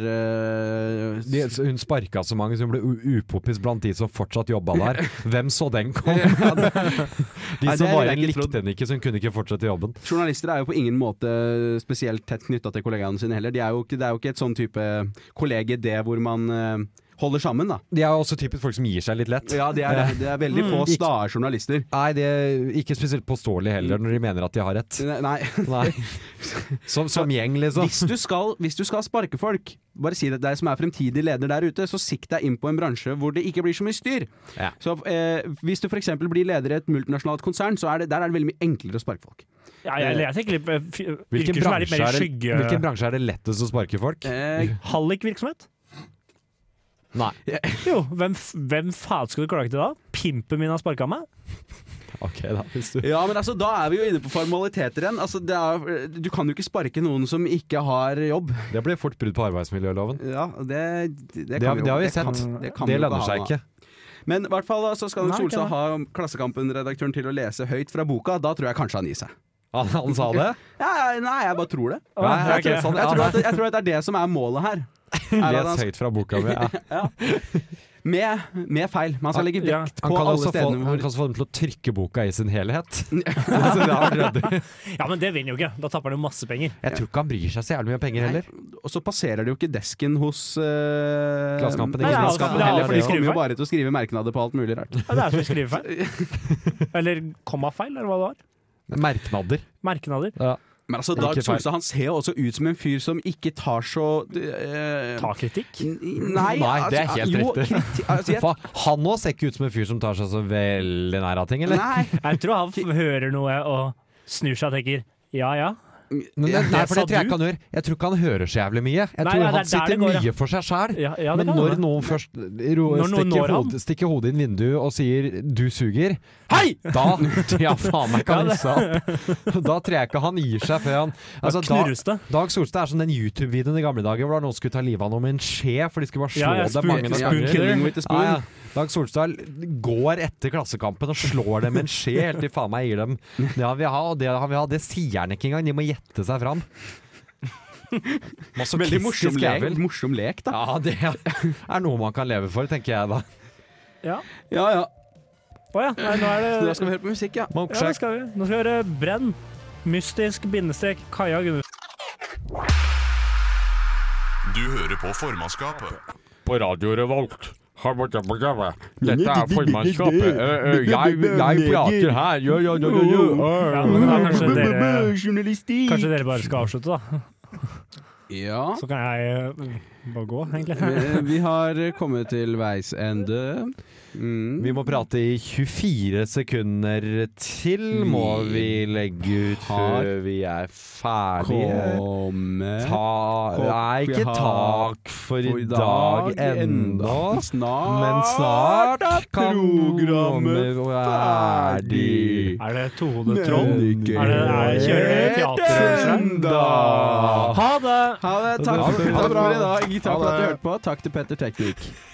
[SPEAKER 5] eh,
[SPEAKER 6] de, så hun sparka så mange, så hun ble u- upopis blant de som fortsatt jobba der. Hvem så den komme? De
[SPEAKER 5] Nei, det
[SPEAKER 6] som
[SPEAKER 5] ville
[SPEAKER 6] bare
[SPEAKER 5] jeg ikke
[SPEAKER 6] likte
[SPEAKER 5] trodd.
[SPEAKER 6] henne ikke, så hun kunne ikke fortsette jobben.
[SPEAKER 5] Journalister er jo på ingen måte spesielt tett knytta til kollegaene sine heller. De er jo ikke, det er jo ikke et sånn type kollegie det hvor man eh, holder sammen, da.
[SPEAKER 6] De er jo også typisk folk som gir seg litt lett.
[SPEAKER 5] Ja, det er, det er veldig få
[SPEAKER 6] Ikke-
[SPEAKER 5] stae journalister.
[SPEAKER 6] Nei, det er ikke spesielt påståelig heller, når de mener at de har rett.
[SPEAKER 5] Nei.
[SPEAKER 6] Nei. Som, som gjeng, liksom.
[SPEAKER 5] Mm. Hvis du, skal, hvis du skal sparke folk, bare si det til deg som er fremtidig leder der ute, så sikt deg inn på en bransje hvor det ikke blir så mye styr.
[SPEAKER 6] Ja.
[SPEAKER 5] Så eh, Hvis du f.eks. blir leder i et multinasjonalt konsern, så er det, der er det veldig mye enklere å sparke folk.
[SPEAKER 7] Ja, jeg, jeg tenker litt på f-
[SPEAKER 6] Hvilken
[SPEAKER 7] yrker som er litt
[SPEAKER 6] bransje
[SPEAKER 7] mer i
[SPEAKER 6] er, det,
[SPEAKER 7] skygge.
[SPEAKER 6] hvilken bransje er det lettest å sparke folk?
[SPEAKER 5] Eh,
[SPEAKER 7] Hallikvirksomhet?
[SPEAKER 6] Nei.
[SPEAKER 7] Jo, hvem, f- hvem faen skal du klage til da? Pimpen min har sparka meg?
[SPEAKER 6] Ok, da. Hvis du
[SPEAKER 5] ja, men altså, Da er vi jo inne på formaliteter igjen. Altså, det er, du kan jo ikke sparke noen som ikke har jobb.
[SPEAKER 6] Det blir fort brudd på arbeidsmiljøloven.
[SPEAKER 5] Ja, Det, det,
[SPEAKER 6] Det har-
[SPEAKER 5] kan
[SPEAKER 6] det har vi
[SPEAKER 5] kan-
[SPEAKER 6] sett.
[SPEAKER 5] kan
[SPEAKER 6] Det
[SPEAKER 5] vi jo
[SPEAKER 6] lønner
[SPEAKER 5] ha,
[SPEAKER 6] seg
[SPEAKER 5] da.
[SPEAKER 6] ikke.
[SPEAKER 5] Men i hvert fall da, så skal
[SPEAKER 7] Nei,
[SPEAKER 5] nok
[SPEAKER 7] ikke
[SPEAKER 5] Solstad ha Klassekampen-redaktøren til å lese høyt fra boka. Da tror jeg kanskje han gir seg.
[SPEAKER 6] Han, han sa det?
[SPEAKER 5] Ja, nei, jeg bare tror det.
[SPEAKER 6] Nei,
[SPEAKER 7] ja,
[SPEAKER 6] jeg tror-
[SPEAKER 7] ok.
[SPEAKER 6] sånn,
[SPEAKER 5] Jeg
[SPEAKER 6] ja,
[SPEAKER 5] tror, at, jeg tror at det er det som er målet her. Er at han
[SPEAKER 6] Les høyt fra boka mi. Ja.
[SPEAKER 5] Med, med feil. Man skal legge
[SPEAKER 7] Ja.
[SPEAKER 5] vekt
[SPEAKER 6] Han,
[SPEAKER 5] på
[SPEAKER 6] kan
[SPEAKER 5] alle
[SPEAKER 6] også få,
[SPEAKER 5] stedene
[SPEAKER 6] han
[SPEAKER 5] hvor
[SPEAKER 6] kan også få dem til å trykke boka i sin helhet. altså, det har vært ryddig.
[SPEAKER 7] ja, men det vinner jo ikke. Da tapper han jo masse penger.
[SPEAKER 6] jeg tror ikke han bryr seg så jævlig mye om penger heller.
[SPEAKER 5] Og så passerer det jo ikke desken hos eh,
[SPEAKER 6] Klassekampen,
[SPEAKER 7] Nei,
[SPEAKER 6] ikke
[SPEAKER 7] ja,
[SPEAKER 6] sant?
[SPEAKER 7] altså,
[SPEAKER 5] Klassekampen
[SPEAKER 7] det er alt
[SPEAKER 5] heller, for de
[SPEAKER 7] de
[SPEAKER 5] kommer
[SPEAKER 7] skriver
[SPEAKER 5] jo bare til å skrive merknader på alt mulig rart.
[SPEAKER 7] Ja, det er som skrivefeil. Eller kommafeil, eller hva det var.
[SPEAKER 6] Merknader.
[SPEAKER 7] Merknader.
[SPEAKER 6] Ja.
[SPEAKER 5] Men altså, Dag
[SPEAKER 6] Ikke feil.
[SPEAKER 5] Solstad han ser jo også ut som en fyr som ikke tar så eh,
[SPEAKER 7] Ta kritikk.
[SPEAKER 5] Nei,
[SPEAKER 6] Nei, det er
[SPEAKER 5] altså,
[SPEAKER 6] helt
[SPEAKER 5] jo,
[SPEAKER 6] riktig.
[SPEAKER 5] kriti- altså, jeg,
[SPEAKER 6] Faen, han òg ser ikke ut som en fyr som tar seg så veldig nær av ting, eller?
[SPEAKER 5] nei.
[SPEAKER 7] Jeg tror han f- hører noe og snur seg og tenker ja ja.
[SPEAKER 6] Men, men, nei,
[SPEAKER 7] det
[SPEAKER 6] for
[SPEAKER 7] sa
[SPEAKER 6] det tror jeg
[SPEAKER 7] du.
[SPEAKER 6] ikke han gjør. Jeg tror ikke han hører så jævlig mye. Jeg
[SPEAKER 7] Nei,
[SPEAKER 6] tror
[SPEAKER 7] nei, det
[SPEAKER 6] han
[SPEAKER 7] er der det
[SPEAKER 6] sitter
[SPEAKER 7] går, ja.
[SPEAKER 6] mye for seg sjæl.
[SPEAKER 7] ja, ja det
[SPEAKER 6] men
[SPEAKER 7] kan
[SPEAKER 6] når
[SPEAKER 7] hende.
[SPEAKER 6] noen først ro,
[SPEAKER 7] Når noen når
[SPEAKER 6] stikker,
[SPEAKER 7] han.
[SPEAKER 6] hodet, stikker hodet inn vinduet og sier 'du suger', hei! Da tror jeg faen meg ikke
[SPEAKER 7] Ja,
[SPEAKER 6] han
[SPEAKER 7] det-
[SPEAKER 6] gir seg opp. Da tror jeg ikke han gir seg før han altså,
[SPEAKER 7] Da
[SPEAKER 6] da,
[SPEAKER 7] knurres det.
[SPEAKER 6] Dag Solstad er som den YouTube-videoen i gamle dager hvor noen skulle ta livet av noen med en skje, for de skulle bare slå
[SPEAKER 7] Ja, ja,
[SPEAKER 6] dem mange
[SPEAKER 7] spoon-
[SPEAKER 6] nok
[SPEAKER 7] spoon
[SPEAKER 6] ganger.
[SPEAKER 7] killer.
[SPEAKER 5] Killing with a spoon.
[SPEAKER 6] Ja, ja. Dag Solstad går etter Klassekampen og slår dem med en skje helt til faen meg gir dem det han vil ha, og det han vil ha, det sier han ikke engang. De må gjette seg fram.
[SPEAKER 5] Veldig morsom
[SPEAKER 6] Masochistisk
[SPEAKER 5] lek,
[SPEAKER 6] jævel.
[SPEAKER 5] morsom lek, da.
[SPEAKER 6] Ja, det er noe man kan leve for, tenker jeg da.
[SPEAKER 7] Ja.
[SPEAKER 5] Ja ja.
[SPEAKER 7] Å ja. Nei, nå er
[SPEAKER 5] Da
[SPEAKER 7] det
[SPEAKER 5] skal vi høre på musikk, ja.
[SPEAKER 7] Ja, det skal vi. Nå skal vi høre Brenn. Mystisk bindestrek Kaja Gunnarsen.
[SPEAKER 1] Du hører på formannskapet.
[SPEAKER 10] på Radio Revolt. Dette er formannskapet. Eh,
[SPEAKER 6] Øh,
[SPEAKER 10] eh, Jeg, jeg prater her. Jo, jo, jo, jo, jo.
[SPEAKER 7] Ja, men da kanskje dere,
[SPEAKER 5] Journalistikk!
[SPEAKER 7] kanskje dere bare skal avslutte, da.
[SPEAKER 5] Ja.
[SPEAKER 7] Så kan jeg eh, bare gå, egentlig.
[SPEAKER 5] Vi- Vi har kommet til veis ende. Mm.
[SPEAKER 6] Vi må prate i 24 sekunder til, må vi legge ut
[SPEAKER 5] Har-
[SPEAKER 6] før vi er ferdige.
[SPEAKER 5] komme
[SPEAKER 6] Ta Nei,
[SPEAKER 5] Håper vi
[SPEAKER 6] ikke
[SPEAKER 5] har-
[SPEAKER 6] tak for i dag ennå.
[SPEAKER 5] Snart,
[SPEAKER 6] Men snart
[SPEAKER 5] er
[SPEAKER 6] kan
[SPEAKER 5] programmet
[SPEAKER 6] ferdig.
[SPEAKER 5] ferdig.
[SPEAKER 7] Er det tohodet troll?
[SPEAKER 5] ikke
[SPEAKER 7] Er det, er, kjører dere teaterfølelser?
[SPEAKER 5] enda.
[SPEAKER 7] Ha det!
[SPEAKER 5] Ha det. Takk,
[SPEAKER 6] Ha det
[SPEAKER 5] for-
[SPEAKER 6] bra.
[SPEAKER 5] takk for i dag. Takk
[SPEAKER 6] Ha
[SPEAKER 5] for at du
[SPEAKER 6] det.
[SPEAKER 5] hørte på. Takk til Petter Teknikk.